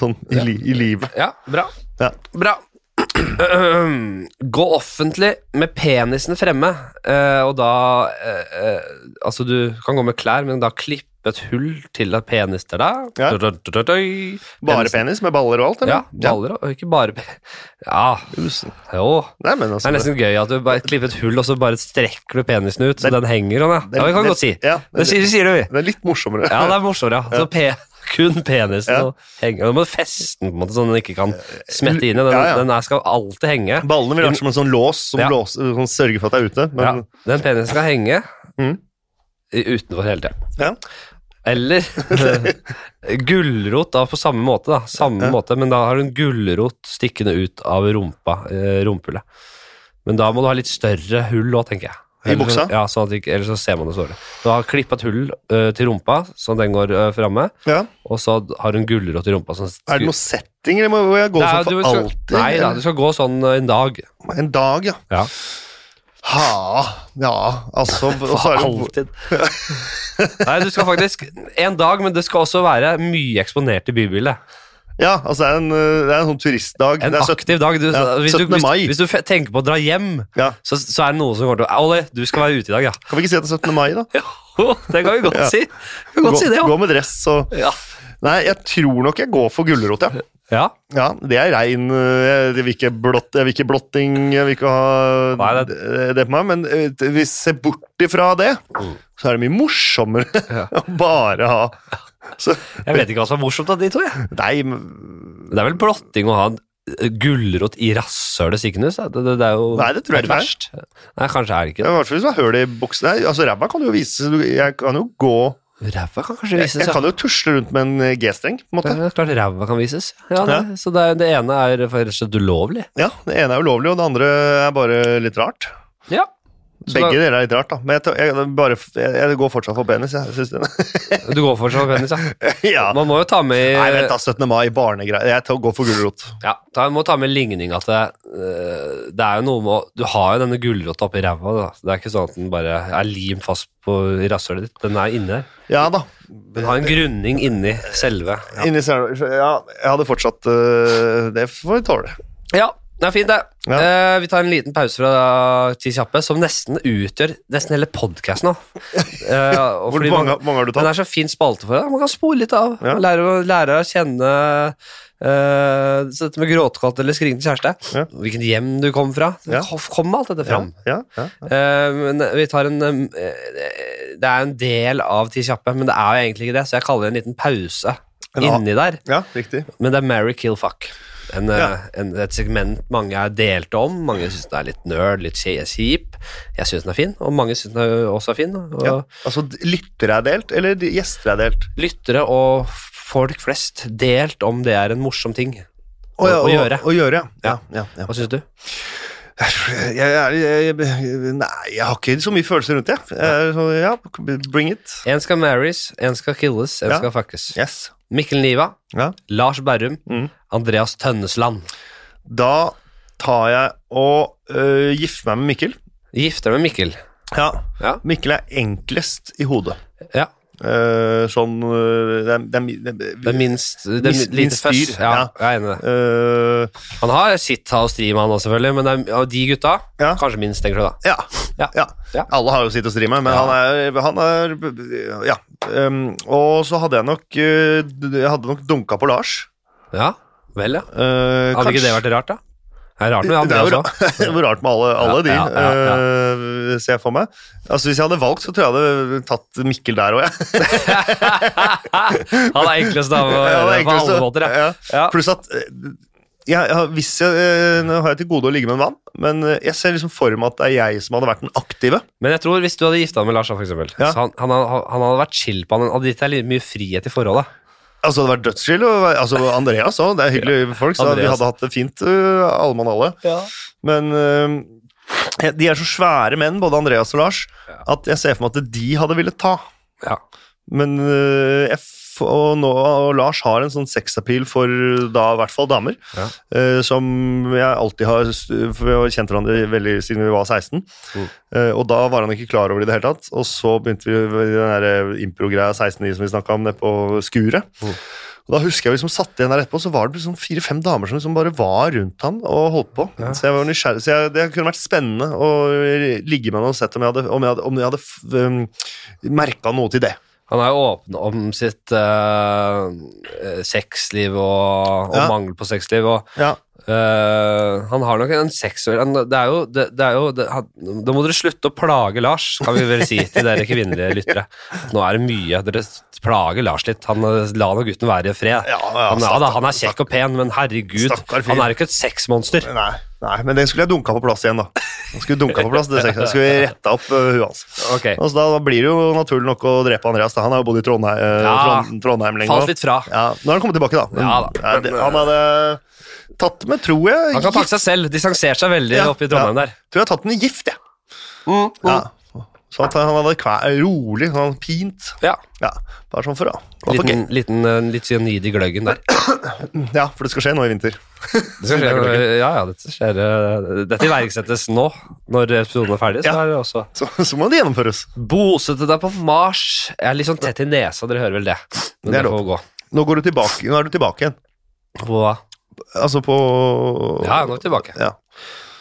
S2: sånn i, li, i livet.
S1: Ja, bra.
S2: Ja.
S1: Bra. Gå offentlig med penisen fremme, eh, og da eh, eh, Altså, du kan gå med klær, men da klippe et hull til at penis til deg.
S2: Ja. Bare
S1: Penisen-
S2: penis med baller og
S1: Ja,
S2: alt? Eller?
S1: baller og ikke bare pe... Ja,
S2: Tusen.
S1: jo.
S2: Nei, men
S1: Det
S2: altså,
S1: er nesten gøy at du bare klipper et hull, og så bare strekker du penisen ut, så den henger sånn, ja.
S2: det-
S1: Ja, vi kan
S2: det-
S1: godt si.
S2: ja,
S1: Det
S2: det-
S1: sier, sier det, vi.
S2: det er litt morsommere.
S1: Ja, det er morsomt, ja. Så pe kun penisen
S2: Ja.
S1: og henger. Du må feste den på en måte, sånn at den ikke kan smette inn i. Den,
S2: Ja, ja.
S1: den her skal alltid henge.
S2: Ballene ville vært som en sånn lås som,
S1: Ja.
S2: lås, som sørger for at det er ute.
S1: Ja,
S2: Men,
S1: den penisen skal henge
S2: Mhm.
S1: i- utenfor hele tida.
S2: ja.
S1: Eller gulrot da, på samme måte, da. Samme måte, men da har du en gulrot stikkende ut av rumpa, eh, rumpehullet. Men da må du ha litt større hull òg, tenker jeg.
S2: I
S1: Eller så-
S2: buksa?
S1: Ja, sånn at ikke, ellers så ser man det såret. Du har klippa et hull eh, til rumpa, så den går uh, framme,
S2: Ja.
S1: og så har du en gulrot i rumpa som
S2: Er det noen setting, eller må må jeg gå
S1: Det er-
S2: sånn for
S1: du skal-
S2: alltid?
S1: Nei da, du skal gå sånn eh, en dag.
S2: En dag, ja.
S1: Ja.
S2: Ha, ja, altså og så er det jo-
S1: Alltid. Nei, du skal faktisk En dag, men det skal også være mye eksponert i bybildet.
S2: Ja, altså det er en, eh, det er en sånn turistdag.
S1: En
S2: det er
S1: aktiv dag. Du,
S2: ja,
S1: hvis, du,
S2: 17.
S1: hvis,
S2: mai.
S1: hvis du fe- tenker på å dra hjem,
S2: Ja.
S1: så, så er det noen som kommer til å Olli, du skal være ute i dag, ja.
S2: Kan vi ikke si at det er 17. mai, da?
S1: Jo, det kan vi godt
S2: Ja.
S1: si. Vi kan godt si det,
S2: gå,
S1: jo.
S2: gå med dress og
S1: Ja.
S2: Nei, jeg tror nok jeg går for gulrot, ja.
S1: ja.
S2: Ja, det er rein eh, Jeg vil ikke, blott, jeg vil ikke blotting, jeg vil ikke ha
S1: Nei,
S2: det, på meg, men eh, hvis jeg ser bort ifra det,
S1: Mm.
S2: så er det mye morsommere å bare ha så,
S1: Jeg vet ikke hva som er morsomt av de to, jeg.
S2: Nei, men-
S1: Det er vel blotting å ha en eh, gulrot i rasshølet sikkenes? da? Det, det, det er jo
S2: Nei, det tror jeg
S1: er
S2: ikke
S1: verst. Nei, kanskje er det
S2: i
S1: ikke det.
S2: hvert fall hvis du har høl i buksen Nei, altså ræva kan jo vise du- Jeg kan jo gå
S1: Ræva kan kanskje
S2: Jeg,
S1: vises.
S2: jeg
S1: ja.
S2: kan jo tusle rundt med en eh, G-streng, på en måte.
S1: Ja, klart ræva kan vises. Ja,
S2: Ja.
S1: nei, Så det, er- det ene er for rett og slett ulovlig.
S2: Ja, Det ene er ulovlig, og det andre er bare litt rart.
S1: Ja. Så
S2: Begge deler er litt rart, da. Men jeg, tar- jeg, bare, jeg, jeg går fortsatt for penis. Jeg synes det.
S1: da, du går for sånn penis, ja.
S2: ja.
S1: Man må jo ta med
S2: Nei, vent da, 17. mai, barnegreier. Jeg tar- går for gulrot.
S1: Ja, ta, må ta med ligning at det, eh, det er jo noe med å- Du har jo denne gulrota oppi ræva. da. Det er ikke sånn at den bare er limt fast på i rasshølet ditt. Den er inne her.
S2: Ja da.
S1: Den har en grunning inni selve. Ja,
S2: Inni Stjerneberg. Så, Ja, jeg hadde fortsatt øh, Det får vi tåle.
S1: ja det er fint, det.
S2: Ja.
S1: Eh, vi tar en liten pause fra Ti kjappe, som nesten utgjør nesten hele podkasten nå. Eh, og
S2: Hvor
S1: fordi man-
S2: mange, mange har du
S1: Den
S2: tatt?
S1: er så fin spalte for deg. Man kan spole litt av.
S2: Ja.
S1: Man Lære, å, lære å kjenne eh, så dette med gråtkaldt eller skrikende kjæreste.
S2: Ja.
S1: Hvilken hjem du kom fra.
S2: Ja.
S1: Kom kom alt dette
S2: Ja,
S1: fram.
S2: ja, ja, ja.
S1: Eh, men vi tar en eh, Det er en del av Ti kjappe, men det er jo egentlig ikke det, så jeg kaller det en liten pause
S2: En A.
S1: inni der.
S2: ja riktig.
S1: Men det er Marry, kill, fuck. En, eh,
S2: Ja.
S1: en, et segment mange er delte om. Mange syns den er litt nerd, litt kje- kjip. Jeg syns den er fin, og mange syns den er- også er fin. Og,
S2: Ja. Altså, d- lyttere er delt, eller de- gjester er delt?
S1: lyttere og folk flest delt om det er en morsom ting.
S2: Å, ja,
S1: Å- å gjøre.
S2: Å gjøre, ja. ja, ja,
S1: Hva syns du?
S2: ja. Jeg, jeg, jeg, jeg, nei, jeg har ikke så mye følelser rundt det. Jeg, er så, ja, bring it.
S1: En skal marries, en skal killes, en
S2: Ja.
S1: skal fuckes.
S2: Yes.
S1: Mikkel Niva,
S2: Ja.
S1: Lars Berrum,
S2: Mm.
S1: Andreas Tønnesland.
S2: Da tar jeg og øh, gifter meg med Mikkel.
S1: Gifter med Mikkel.
S2: Ja.
S1: Ja.
S2: Mikkel er enklest i hodet.
S1: ja.
S2: Eh, sånn øh, det er, det er, mi- det er,
S1: Det er minst det er
S2: Minst-
S1: lite
S2: minst
S1: føss.
S2: dyr,
S1: Ja,
S2: ja.
S1: jeg er enig i det.
S2: Eh,
S1: Han har sitt å stri med, han også, selvfølgelig, men det er, av de gutta
S2: Ja.
S1: Kanskje minst, tenker du da.
S2: ja,
S1: Ja.
S2: ja.
S1: Ja.
S2: Alle har jo sitt å stri med, men
S1: Ja.
S2: han, er, han er Ja. Um, og så hadde jeg nok eh, d- Jeg hadde nok dunka på Lars.
S1: Ja, vel, ja.
S2: Eh,
S1: Hadde ikke
S2: kanskje-
S1: det vært rart, da? Det er rart med
S2: Det er
S1: Andreas òg.
S2: jo ra- det er jo rart med alle, alle
S1: Ja,
S2: de,
S1: ja, ja,
S2: eh, ser jeg for meg. Altså Hvis jeg hadde valgt, så tror jeg jeg hadde tatt Mikkel der òg, jeg.
S1: Han er enklest av å
S2: Ja, det
S1: gjøre
S2: er
S1: på
S2: egentlig
S1: alle
S2: så-
S1: måter, ja.
S2: ja.
S1: ja.
S2: Pluss at eh, jeg, jeg, har- hvis jeg, eh, Nå har jeg til gode å ligge med en mann, men eh, jeg ser liksom for meg at det er jeg som hadde vært den aktive.
S1: Men jeg tror hvis du hadde gifta deg med Lars, da, for eksempel,
S2: Ja.
S1: så han, han, hadde- han hadde vært chill på han, han hadde gitt deg litt mye frihet i forholdet.
S2: Altså, det hadde vært dødschill. og- Altså, Andreas òg. Det er hyggelige folk, så vi
S1: Andreas.
S2: hadde hatt det fint, øh, alle mann alle. Men øh, de er så svære menn, både Andreas og Lars, at jeg ser for meg at de hadde villet ta.
S1: Ja.
S2: Men øh, jeg f og, nå, og Lars har en sånn sexappeal for eh, da i hvert fall damer,
S1: Ja.
S2: øh, som jeg alltid har st- For vi har kjent hverandre veldig siden vi var 16,
S1: Mm.
S2: Eh, og da var han ikke klar over det i det hele tatt. Og så begynte vi med den der impro-greia 16-9 som vi snakka om, nede på skuret.
S1: Mm.
S2: Og da husker jeg vi liksom satt igjen der etterpå, så var det sånn fire-fem damer som liksom bare var rundt han og holdt på.
S1: Ja.
S2: Så jeg var nysgjerrig, så jeg, det kunne vært spennende å ligge med han og sett om jeg hadde, om jeg hadde, om jeg hadde merka noe til det.
S1: Han er jo åpen om sitt eh, eh, sexliv og, og
S2: Ja.
S1: mangel på sexliv. Og,
S2: Ja,
S1: eh, han har nok en seksuell han, Det er jo, det, det er jo det, han, Da må dere slutte å plage Lars, kan vi vel si til dere kvinnelige lyttere. Nå er det mye. Dere plager Lars litt. Han, eh, la nå gutten være i fred.
S2: ja, ja,
S1: Han, ja, da, han er kjekk og pen, men herregud,
S2: Stakkar fyr.
S1: han er jo ikke et sexmonster.
S2: Nei, nei, men det skulle jeg dunka på plass igjen, da. Jeg skulle dunka på plass, det sexet. Jeg skulle retta opp øh, huet hans.
S1: Ok,
S2: Altså, da, da blir det jo naturlig nok å drepe Andreas. Da. Han har jo bodd i Trondheim, øh,
S1: Ja.
S2: Trond- Trondheim lenge.
S1: Falt
S2: nå.
S1: litt fra.
S2: Ja, nå har han kommet tilbake, da. Men,
S1: Ja, da.
S2: ja, det, han hadde tatt med, tror jeg
S1: Han kan pakke seg selv. Distansert seg veldig
S2: Ja,
S1: oppe i Trondheim
S2: ja.
S1: der.
S2: Tror jeg har tatt den i gift, jeg.
S1: Mm, mm.
S2: Ja. Så at han hadde kvæ rolig, sånn pint.
S1: Ja.
S2: Ja, Bare sånn for å å få
S1: Liten, liten, eh, litt cyanid i gløggen der.
S2: ge- Ja, for det skal skje nå i vinter.
S1: Det skal skje, ja, ja, dette skjer eh, Dette iverksettes nå, når episoden er ferdig. Så
S2: Ja.
S1: er det også
S2: Så, så må det gjennomføres.
S1: Bosette deg på Mars. Jeg er litt sånn tett i nesa, dere hører vel det. Men
S2: Det
S1: det
S2: er
S1: får gå.
S2: Nå, går du tilbake, nå er du tilbake igjen.
S1: Hva?
S2: Altså på
S1: Ja, nå er vi tilbake.
S2: Ja.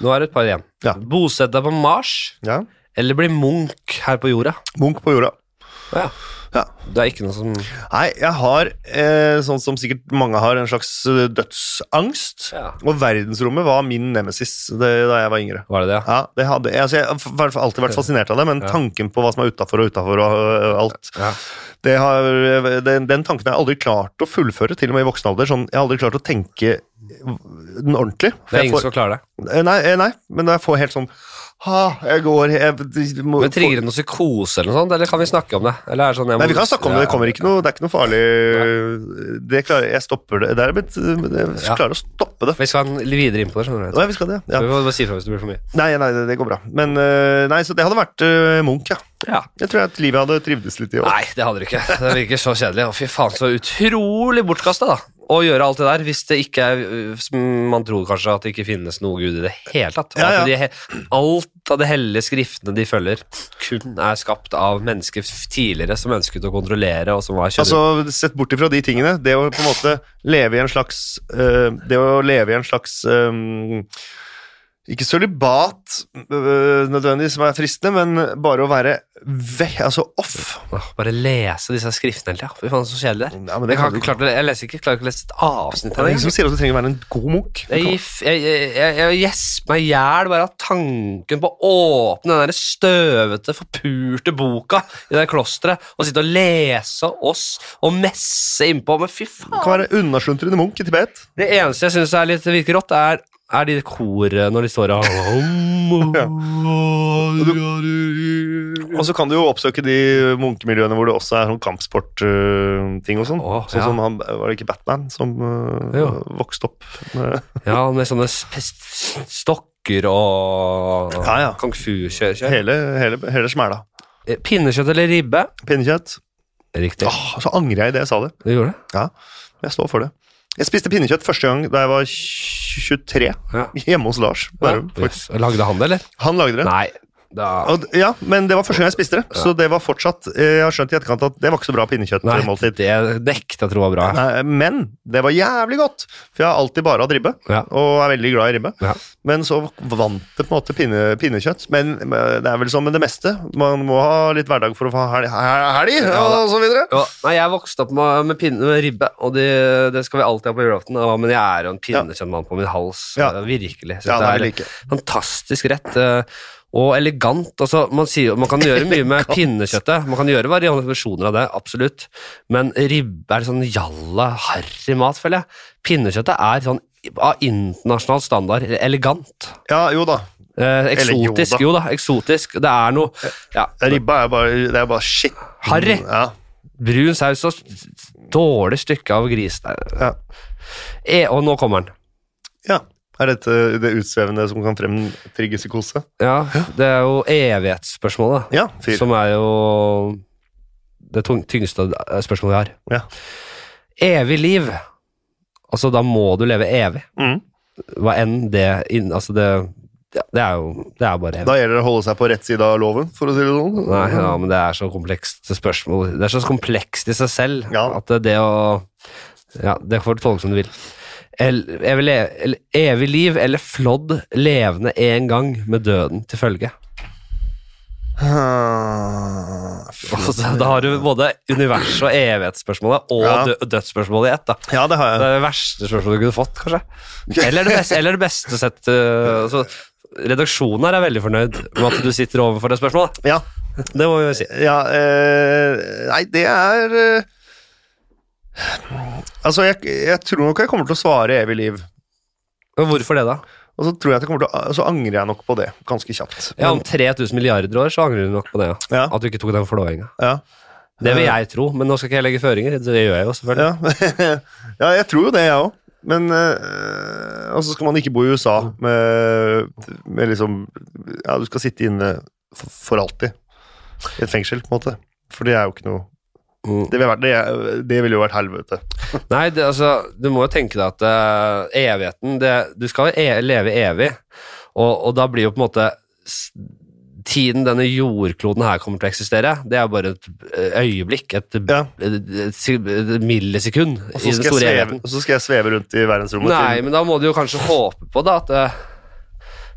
S1: Nå er det et par igjen.
S2: Ja.
S1: Bosett deg på Mars,
S2: ja.
S1: eller bli munk her på jorda.
S2: Munch på jorda.
S1: Ja.
S2: Ja.
S1: Det er ikke noe som
S2: Nei, jeg har, eh, sånn som sikkert mange har, en slags eh, dødsangst.
S1: Ja.
S2: Og verdensrommet var min nemesis det, da jeg var yngre.
S1: Var det det? ja?
S2: Ja, det hadde, jeg- altså jeg har f- hvert fall alltid vært fascinert av det, men
S1: Ja.
S2: tanken på hva som er utafor og utafor og øh, alt
S1: Ja.
S2: det har, den, den tanken har jeg aldri klart å fullføre, til og med i voksen alder. Sånn, jeg har aldri klart å tenke den ordentlig. for
S1: Det er
S2: jeg
S1: ingen
S2: får,
S1: som klarer det.
S2: Eh, nei, eh, nei, men jeg får helt sånn ha, jeg går jeg, de- må,
S1: Men Trigger det noe psykose eller noe sånt, eller kan vi snakke om det? Eller er det sånn, jeg må-
S2: Nei, Vi kan snakke om det, det kommer ikke noe, det er ikke noe farlig det klarer, Jeg stopper det. Der er blitt, jeg
S1: Ja.
S2: klarer å stoppe det.
S1: Vi skal en- videre inn på det, skjønner du.
S2: Nei, vi skal det, ja.
S1: Vi må bare si fra hvis det blir for mye.
S2: Nei, nei, det, det går bra. Men eh, nei, så det hadde vært eh, Munch, ja.
S1: Ja.
S2: Jeg tror at livet hadde trivdes litt i år.
S1: Nei, det hadde du ikke. Det virker så kjedelig. Å, fy faen, så utrolig bortkasta, da. Å gjøre alt det der hvis det ikke er som Man tror kanskje at det ikke finnes noe gud i det hele tatt. Og
S2: Ja,
S1: at
S2: ja.
S1: De, he- alt av de hellige skriftene de følger, kun er skapt av mennesker f- tidligere som ønsket å kontrollere, og som var kjønn...
S2: Altså, Sett bort ifra de tingene. Det å på en måte leve i en slags eh, Det å leve i en slags eh, Ikke sølibat eh, nødvendigvis, som er fristende, men bare å være ve altså off.
S1: Åh, Bare lese disse skriftene hele tida. Fy faen, så kjedelig det er.
S2: Ja,
S1: Jeg,
S2: men det
S1: kan
S2: kan du
S1: ikke,
S2: ikke.
S1: klart, jeg leser ikke, klarer ikke å lese et avsnitt av
S2: Det er
S1: det. liksom.
S2: ingen som sier at du trenger å være en god munk.
S1: Jeg, gir f- jeg, jeg, jeg, jeg gjesper meg i hjel bare av tanken på å åpne den der støvete, forpurte boka i det der klosteret og sitte og lese oss og messe innpå. Men fy
S2: Du kan
S1: faen!
S2: være unnasluntret munk i Tibet.
S1: Det eneste jeg syns er litt virker rått, er, er de kor når de står og Mm.
S2: Og så kan du jo oppsøke de munkemiljøene hvor det også er sånn kampsportting og sånn.
S1: Å,
S2: sånn
S1: ja.
S2: som han, Var det ikke Batman som eh,
S1: Jo.
S2: vokste opp med
S1: Ja, med sånne sp- st- stokker og
S2: Ja, ja.
S1: kung fu-kjør.
S2: hele, hele, hele smæla?
S1: Eh, Pinnekjøtt eller ribbe?
S2: Pinnekjøtt.
S1: Riktig.
S2: Åh, så angrer jeg i det jeg sa det.
S1: Du gjorde det?
S2: Ja, jeg står for det. Jeg spiste pinnekjøtt første gang da jeg var 23,
S1: Ja.
S2: hjemme hos Lars.
S1: Ja.
S2: Bærum, faktisk.
S1: Yes. Lagde han det, eller?
S2: Han lagde det.
S1: Nei. Da
S2: Og, d- ja, men det var første gang jeg spiste det, så det var fortsatt eh, Jeg har skjønt i etterkant at det var ikke så bra
S1: Nei,
S2: pinnekjøttmåltid.
S1: det nekter jeg tror var bra.
S2: Nei, Men det var jævlig godt, for jeg har alltid bare hatt ribbe.
S1: Ja.
S2: Og er veldig glad i ribbe.
S1: Ja.
S2: Men så vant det på en måte pinne, pinnekjøtt. Men men det er vel som med det meste. Man må ha litt hverdag for å få helg, helg
S1: Ja,
S2: og så videre.
S1: Ja, nei, jeg vokste opp med, med pinne med ribbe, og det, det skal vi alltid ha på julaften. og- Men jeg er jo en pinnekjøttmann på min hals.
S2: Ja.
S1: eh, Virkelig. Så det
S2: Ja, det
S1: er
S2: er like.
S1: fantastisk rett. eh, Og elegant. altså Man, sier, jo- man kan gjøre mye med pinnekjøttet. Man kan gjøre variasjoner av det, absolutt. Men ribbe er sånn jalla, harry mat, føler jeg. Pinnekjøttet er sånn av internasjonal standard elegant.
S2: Ja, jo da.
S1: Eh,
S2: jo da.
S1: eksotisk, jo da. Eksotisk. Det er noe
S2: Eh,
S1: ja,
S2: Ribba er bare, det er bare shit.
S1: Harry.
S2: Ja,
S1: Brun saus og s- s- dårlig stykke av gris. Nei.
S2: ja.
S1: E, og nå kommer den.
S2: ja. Er dette det utsvevende som kan fremtrigge psykose?
S1: Ja, det er jo evighetsspørsmålet, da.
S2: Ja, fyr.
S1: Som er jo det tung- tyngste eh, spørsmålet vi har.
S2: Ja.
S1: Evig liv. Altså, da må du leve evig.
S2: Mm.
S1: Hva enn det inn- Altså, det Det er jo det er bare evig.
S2: Da gjelder det å holde seg på rett side av loven, for å si det sånn.
S1: Nei, ja, men det er så komplekst spørsmål. Det er så komplekst i seg selv
S2: Ja.
S1: at det å Ja, det får du tolke som du vil. El, evig, le, el, evig liv eller flådd levende en gang med døden til følge.
S2: Ah,
S1: Altså, da har du både univers og evighetsspørsmålet og
S2: Ja.
S1: dø, dødsspørsmålet i ett. da.
S2: Ja, det har
S1: Det
S2: jeg.
S1: er det verste spørsmålet du kunne fått, kanskje. Eller det beste, eller det beste sett øh, altså, Redaksjonen her er veldig fornøyd med at du sitter overfor det spørsmålet.
S2: Ja,
S1: Det må vi jo si.
S2: ja eh, Nei, det er eh, Altså, jeg, jeg tror nok jeg kommer til å svare evig liv.
S1: Men hvorfor det, da?
S2: Og så, tror jeg at jeg kommer til å, så angrer jeg nok på det, ganske kjapt.
S1: Ja, om 3000 milliarder år så angrer du nok på det, ja.
S2: Ja.
S1: At du ikke tok den flåinga.
S2: Ja.
S1: Det vil jeg tro, men nå skal ikke jeg legge føringer. Det gjør jeg jo, selvfølgelig.
S2: Ja. ja, jeg tror jo det, jeg òg. Men eh, Og så skal man ikke bo i USA med, med liksom Ja, du skal sitte inne for, for alltid. i et fengsel, på en måte. For det er jo ikke noe
S1: Mm.
S2: Det ville vært- det er- det ville jo vært helvete.
S1: Nei, det, altså, du må jo tenke deg at eh, evigheten det, Du skal jo e leve evig, og, og da blir jo på en måte s- Tiden denne jordkloden her kommer til å eksistere, det er bare et eh, øyeblikk, et,
S2: Ja.
S1: et, si- et millisekund
S2: Og
S1: i
S2: så
S1: den
S2: skal, jeg
S1: store
S2: sveve,
S1: evigheten.
S2: og så skal jeg sveve rundt i verdensrommet
S1: Nei,
S2: til
S1: men da må du jo kanskje håpe på det at eh,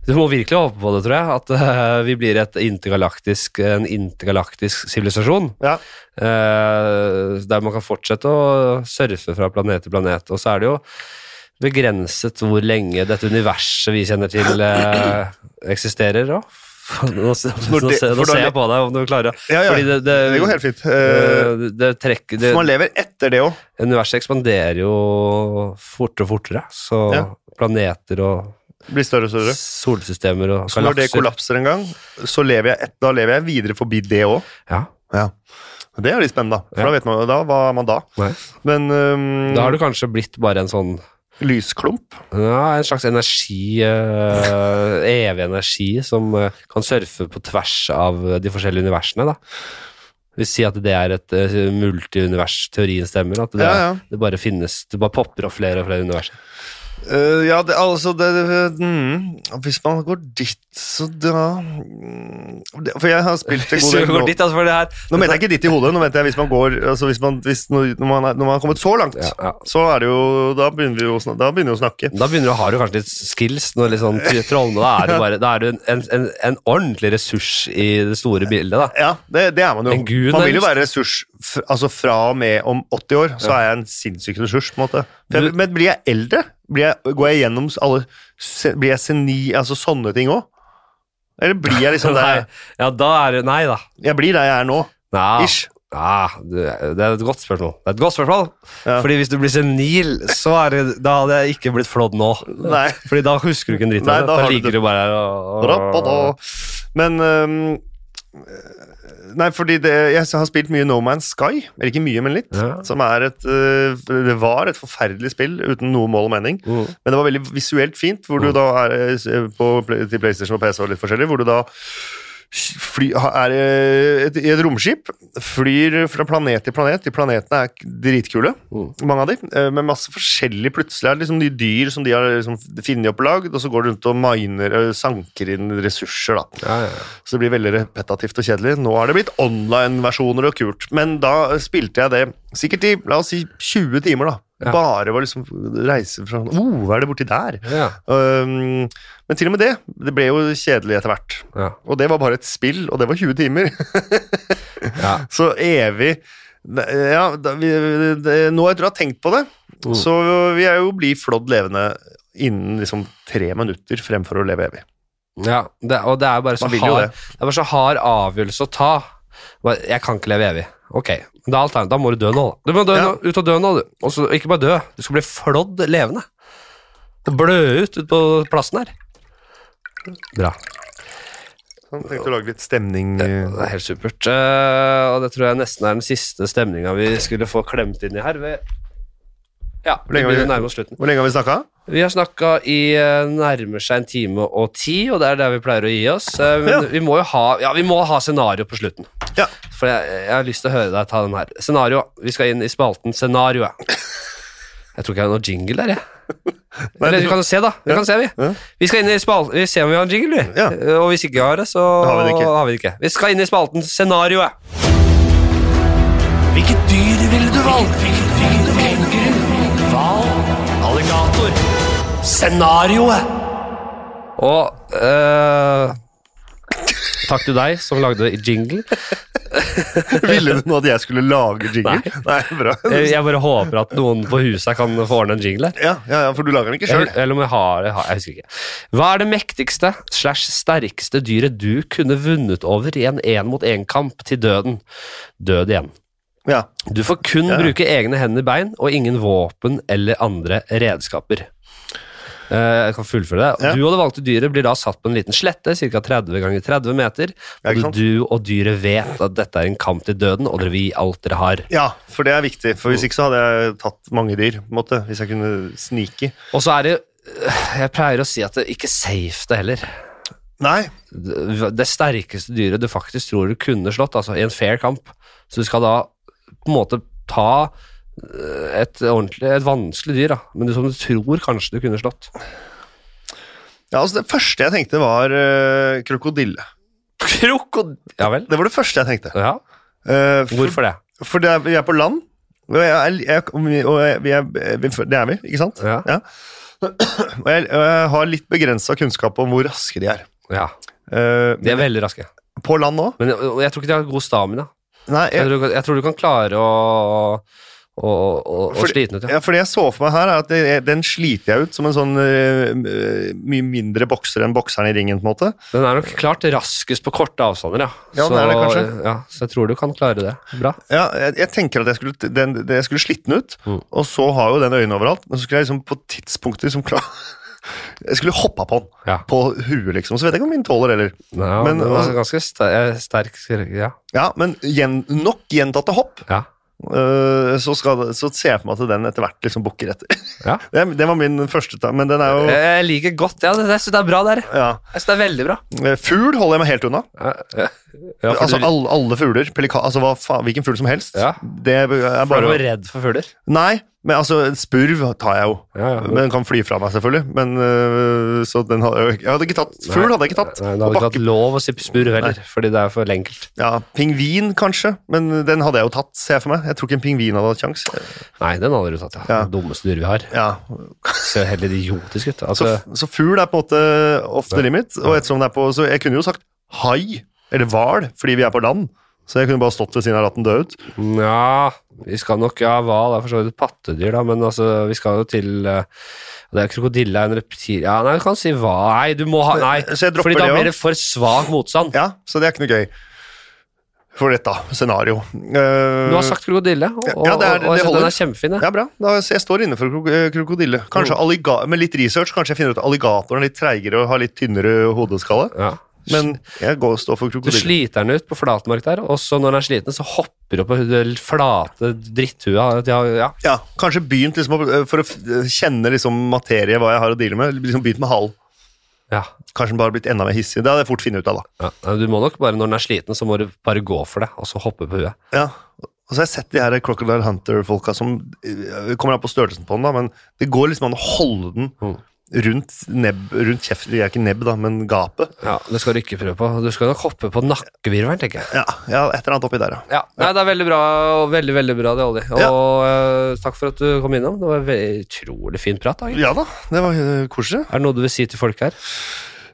S1: Du må virkelig håpe på det, tror jeg. At eh, vi blir et intergalaktisk, en intergalaktisk sivilisasjon.
S2: ja.
S1: Eh, der man kan fortsette å surfe fra planet til planet. Og så er det jo begrenset hvor lenge dette universet vi kjenner til, eh, eksisterer. Og. Nå, se-
S2: Når
S1: nå,
S2: det-
S1: se,
S2: for
S1: nå
S2: da-
S1: ser jeg på deg om du klarer det.
S2: Ja, ja.
S1: Fordi det, det,
S2: Det går helt fint. Eh,
S1: eh, det trekker det,
S2: for man lever etter det òg.
S1: Universet ekspanderer jo fortere og fortere. Så
S2: Ja.
S1: planeter og
S2: Blir større og større.
S1: solsystemer og
S2: Så når det
S1: galakser
S2: kollapser en gang, så lever jeg, et, da lever jeg videre forbi det òg.
S1: ja.
S2: Det er litt spennende, da. For
S1: Ja.
S2: da vet man jo da, hva er man da?
S1: Nei.
S2: Men øhm,
S1: Da har du kanskje blitt bare en sånn
S2: lysklump?
S1: Ja, en slags energi, eh, evig energi, som eh, kan surfe på tvers av eh, de forskjellige universene. da. Vi sier at det er et eh, multiunivers, teorien stemmer. At det,
S2: Ja, ja.
S1: det bare finnes, det bare popper opp flere og flere univers.
S2: Eh, ja, det, altså det, det- mm, Hvis man går dit, så da mm, det, For jeg har spilt en
S1: Hvis
S2: god
S1: vi
S2: del
S1: går
S2: nå-
S1: dit, altså, for det her...
S2: Nå mente jeg ikke dit i hodet, nå mente jeg hvis man går altså hvis man, hvis, når, når, man er, når man har kommet så langt,
S1: Ja, ja.
S2: så er det jo Da begynner vi jo å snak- da begynner vi å snakke.
S1: Da begynner du, har du kanskje litt skills, når litt sånn tr- trollene, da er du, bare, da er du en, en, en, en ordentlig ressurs i det store bildet, da.
S2: Ja, det, det er man jo.
S1: En gud,
S2: man vil jo
S1: nærmest.
S2: være ressurs f- Altså fra og med om 80 år, så er jeg en sinnssyk ressurs, på en måte. For jeg,
S1: Du-
S2: men blir jeg eldre? Blir jeg, går jeg gjennom s- alle se- Blir jeg seni... Altså sånne ting òg? Eller blir jeg liksom
S1: Nei,
S2: der
S1: ja, da er du Nei, da.
S2: Jeg blir der jeg er nå,
S1: Nei.
S2: ish.
S1: Ja, det Ah, det er et godt spørsmål. Det er et godt spørsmål.
S2: Ja.
S1: Fordi hvis du blir senil, så er det, da hadde jeg ikke blitt flådd nå.
S2: Nei.
S1: Fordi da husker du ikke en dritt.
S2: Nei,
S1: av det.
S2: da
S1: Da,
S2: har du det.
S1: ligger du bare her og,
S2: Da-da-da-da. Men øhm, Nei, fordi det, jeg har spilt mye No Man's Sky. Eller ikke mye, men litt.
S1: Ja.
S2: Som er et øh, Det var et forferdelig spill uten noe mål og mening.
S1: Mm.
S2: Men det var veldig visuelt fint, hvor du da er eh, på, Play- til PlayStation og PC og litt forskjellig, hvor du da fly, er eh, et, i et romskip, flyr fra planet til planet. De planetene er k- dritkule,
S1: Mm.
S2: mange av de, eh, med masse forskjellig. Plutselig er det liksom nye dyr som de har liksom funnet opp og lagd, og så går du rundt og miner, eh, sanker inn ressurser, da.
S1: Ja, ja.
S2: Så det blir veldig repetativt og kjedelig. Nå er det blitt online-versjoner og kult. Men da spilte jeg det sikkert i la oss si 20 timer, da.
S1: Ja.
S2: Bare var liksom reise fra oh, hva er det borti der?
S1: Ja,
S2: Um, men til og med det. Det ble jo kjedelig etter hvert.
S1: ja,
S2: Og det var bare et spill, og det var 20 timer.
S1: ja.
S2: Så evig Ne- Ja, da, vi, det, nå etter å ha tenkt på det,
S1: Mm.
S2: så vil jeg jo bli flådd levende innen liksom tre minutter fremfor å leve evig.
S1: ja. Det, og det er bare så
S2: Man vil jo
S1: hard
S2: det.
S1: Det er bare så hard avgjørelse å ta. Bare, Jeg kan ikke leve evig. Ok, men da, er alternativet- da må du dø nå. da. Du må dø
S2: Ja.
S1: nå, ut og dø nå, du. Og så ikke bare dø, du skal bli flådd levende. Blø ut ut på plassen her. Bra.
S2: Sånn, tenkte å lage litt stemning.
S1: Det er helt supert. Eh, og det tror jeg nesten er den siste stemninga vi skulle få klemt inn i her. Vi, ja, vi
S2: lenge har vi-
S1: begynner å nærme oss slutten.
S2: Hvor lenge har vi snakka?
S1: Vi har snakka i eh, nærmer seg en time og ti, og det er der vi pleier å gi oss. Eh, men
S2: Ja.
S1: vi må jo ha, ja, vi må ha scenario på slutten.
S2: Ja.
S1: For jeg, jeg har lyst til å høre deg ta den her. Scenario. Vi skal inn i spalten Scenarioet. Jeg tror ikke jeg har noe jingle der, jeg. Eller vi kan jo se, da. Vi kan se, vi.
S2: Ja.
S1: Vi skal inn i spalten Vi ser om vi har en jingle, vi.
S2: Ja.
S1: Eh, Og hvis ikke vi har det, så
S2: har vi det ikke.
S1: vi det ikke. Vi skal inn i spalten Scenarioet.
S4: Hvilket dyr ville du valgt? Hval? Alligator? Scenarioet?
S1: Og eh, Takk til deg som lagde jingle.
S2: Ville du nå at jeg skulle lage jingle?
S1: Nei. Eh.
S2: Nei, bra.
S1: Jeg jeg bare håper at noen på huset her kan få ordne en jingle her.
S2: Ja, ja, ja, for du lager den ikke sjøl.
S1: Eller, eller om jeg har det, har- jeg husker ikke. Hva er det mektigste slash sterkeste dyret du kunne vunnet over i en én mot én-kamp til døden? Død igjen.
S2: Ja.
S1: Du får kun
S2: Ja.
S1: bruke egne hender, bein og ingen våpen eller andre redskaper. Eh, Jeg kan fullføre det.
S2: Ja.
S1: Du og det valgte dyret blir da satt på en liten slette, ca. 30 ganger 30 meter.
S2: Ja,
S1: Både
S2: ikke sant?
S1: du og dyret vet at dette er en kamp til døden, og dere vil gi alt dere har.
S2: ja, for det er viktig. For
S1: Mm.
S2: hvis ikke så hadde jeg tatt mange dyr, på en måte. Hvis jeg kunne snike.
S1: øh, Og så er det Jeg pleier å si at det ikke er safe, det heller.
S2: Nei.
S1: det sterkeste dyret du faktisk tror du kunne slått, altså i en fair kamp. Så du skal da på en måte ta eh, et ordentlig, et vanskelig dyr, da, men du som du tror kanskje du kunne slått.
S2: Ja, altså Det første jeg tenkte, var øh, krokodille.
S1: Krokodille Ja vel?
S2: Det var det første jeg tenkte.
S1: Ja.
S2: Eh, for,
S1: Hvorfor det?
S2: for det er, vi er på land, og, jeg, er- jeg, og vi- og jeg, vi er, vi, det er vi, ikke sant?
S1: Ja.
S2: Og jeg, og jeg har litt begrensa kunnskap om hvor raske de er.
S1: ja.
S2: Eh,
S1: De er veldig raske.
S2: på land nå?
S1: Men jeg, og jeg tror ikke de har god stamina.
S2: Nei,
S1: Jeg
S2: jeg,
S1: tror, jeg tror du kan klare å, å, å, å
S2: Fordi-
S1: slite den ut, ja.
S2: ja, for det jeg så for meg her, er at det, den sliter jeg ut som en sånn øh, mye mindre bokser enn bokseren i ringen. på en måte.
S1: Den er nok klart raskest på korte avstander, ja.
S2: Ja, den er det kanskje.
S1: ja. Så jeg tror du kan klare det. Bra.
S2: Ja, jeg, jeg tenker at jeg skulle, den, det- jeg skulle slitte den ut,
S1: Mm.
S2: og så har jo den øynene overalt. Men så skulle jeg liksom på tidspunktet liksom klar... Jeg skulle hoppa på den,
S1: Ja.
S2: på huet, liksom. Så vet jeg ikke om min tåler heller.
S1: Ja,
S2: Men,
S1: men, den
S2: altså-
S1: er ganske sterk, sterk ja.
S2: Ja, Men gjen, nok gjentatte hopp,
S1: ja.
S2: øh, så, skal, det- så ser jeg for meg at den etter hvert liksom bukker etter.
S1: Ja. Eh.
S2: Det, det var min første ta, men den er jo
S1: Jeg liker godt, ja. Det, jeg synes det er bra der.
S2: ja. Eh,
S1: Jeg synes det er veldig bra.
S2: Fugl holder jeg meg helt unna.
S1: Ja, ja. Ja, for
S2: altså
S1: du,
S2: alle, alle fugler. Pelika, altså hva faen, hvilken fugl som helst.
S1: Ja.
S2: Det er
S1: for du
S2: bare
S1: var redd for fugler.
S2: Nei, men altså, en spurv tar jeg jo.
S1: Ja, ja.
S2: Men den kan fly fra meg, selvfølgelig. Men øh, så den hadde jeg jo ikke- Jeg hadde ikke tatt Fugl hadde jeg ikke tatt.
S1: Nei, det hadde
S2: Og
S1: ikke hatt
S2: bakke-
S1: lov å si spurv heller, fordi det er for enkelt.
S2: ja, Pingvin, kanskje. Men den hadde jeg jo tatt, ser jeg for meg. Jeg tror ikke en pingvin hadde hatt kjangs.
S1: Nei, den hadde du tatt, ja.
S2: Ja.
S1: Det Dummeste dyr vi har.
S2: Ja.
S1: Ser helt idiotisk ut.
S2: Så,
S1: Altså,
S2: så fugl er på en måte off the limit. Og ettersom den er på, så jeg kunne jo sagt hai eller hval, fordi vi er på land. Så jeg kunne bare stått ved siden av og latt den dø ut.
S1: Ja, vi skal nok Ja, hval er for så vidt et pattedyr, da, men altså, vi skal jo til eh, Det er krokodille, en reptil Ja, nei, du kan si hva Nei, du må ha Nei,
S2: Så jeg dropper
S1: fordi da
S2: det også.
S1: blir det for svak motstand.
S2: Ja, så det er ikke noe gøy. For dette scenario. Eh,
S1: Du har sagt krokodille, og,
S2: Ja, det
S1: og, og
S2: er-
S1: jeg
S2: det
S1: synes
S2: holder.
S1: den er kjempefin. jeg.
S2: Ja, bra. Da, så jeg står inne for krok- eh, krokodille. Kanskje alliga Med litt research kanskje jeg finner ut at alligatoren er litt treigere og har litt tynnere hodeskalle.
S1: Ja.
S2: Men jeg går og står for
S1: Du
S2: krokodille.
S1: sliter den ut på flatmark der, og så når den er sliten, så hopper du på det flate dritthua. Ja, ja.
S2: Ja, kanskje begynt liksom, å- eh, for å f- eh, kjenne liksom materie, hva jeg har å deale med. Liksom begynt med halen.
S1: ja.
S2: Kanskje den bare har blitt enda mer hissig. Det hadde jeg fort funnet ut av, da.
S1: ja. Nei, Du må nok bare, når den er sliten, så må du bare gå for det, og så hoppe på huet.
S2: Ja, og så har jeg sett de her Crocodile Hunter-folka som eh, kommer an på størrelsen på den, da, men det går liksom an å holde den
S1: Mm.
S2: rundt nebb, rundt kjeften, det er ikke nebb da, men gapet.
S1: Ja, Det skal du ikke prøve på. Du skal nok hoppe på nakkevirvelen, tenker jeg.
S2: Ja, ja, et eller annet oppi der, ja.
S1: Ja, nei, det er veldig bra, og veldig, veldig bra det, Olli. Og
S2: Ja.
S1: eh, takk for at du kom innom. Det var en ve- utrolig fin prat. da. egentlig.
S2: Ja da, det var eh, koselig.
S1: Er det noe du vil si til folk her?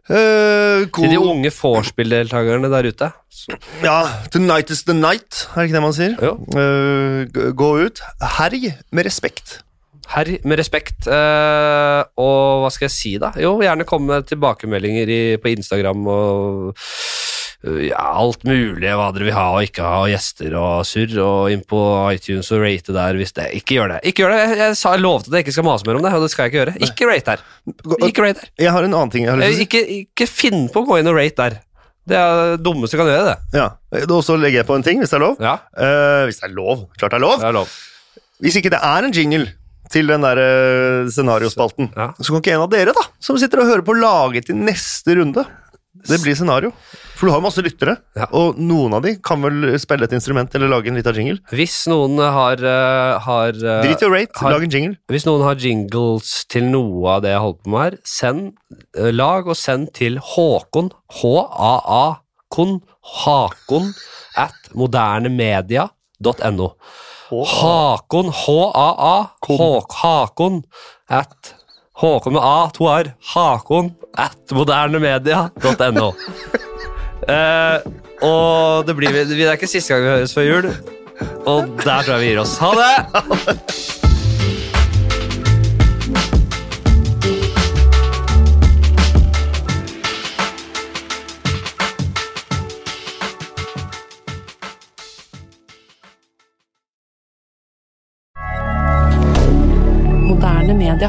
S2: Eh, god-
S1: Til de unge vorspiel-deltakerne der ute?
S2: Ja, tonight is the night, er det ikke det man sier?
S1: Jo.
S2: Eh, g- gå ut. Herg med respekt.
S1: Herr med respekt. eh, og hva skal jeg si, da? Jo, gjerne komme med tilbakemeldinger i, på Instagram og eh, ja, alt mulig hva dere vil ha og ikke ha, og gjester og surr, og inn på iTunes og rate der hvis det Ikke gjør det. Ikke gjør det. Jeg, jeg, sa, jeg lovte at jeg ikke skal mase mer om det, og det skal jeg ikke gjøre. Ikke rate her. Ikke rate her.
S2: Jeg har en annen ting jeg har lyst
S1: Eh,
S2: til å si.
S1: Ikke, ikke finn på å gå inn og rate der. Det er det dummeste du kan gjøre, det.
S2: Ja. Og så legger jeg på en ting, hvis det er lov.
S1: Ja,
S2: Eh, hvis det er lov. Klart det er lov.
S1: det er lov.
S2: Hvis ikke det er en jingle til den der eh, scenariospalten,
S1: Ja.
S2: så kan ikke en av dere da, som sitter og hører på, lage til neste runde. Det blir scenario. For du har jo masse lyttere,
S1: Ja.
S2: og noen av de kan vel spille et instrument eller lage en liten jingle.
S1: Hvis noen har, eh, har, eh,
S2: Drit i å rate,
S1: har-
S2: lag en jingle.
S1: hvis noen har jingles til noe av det jeg holder på med her, send, eh, lag og send til Håkon, H-A-A-Kon, Hakon, at modernemedia.no. Hakon, H-A-A, Håk- Hakon, at Håkon med A, to R, Hakon, at modernemedia.no. Eh, og det, blir, det er ikke siste gang vi høres før jul, og der tror jeg vi gir oss. Ha det!
S5: Moderne media.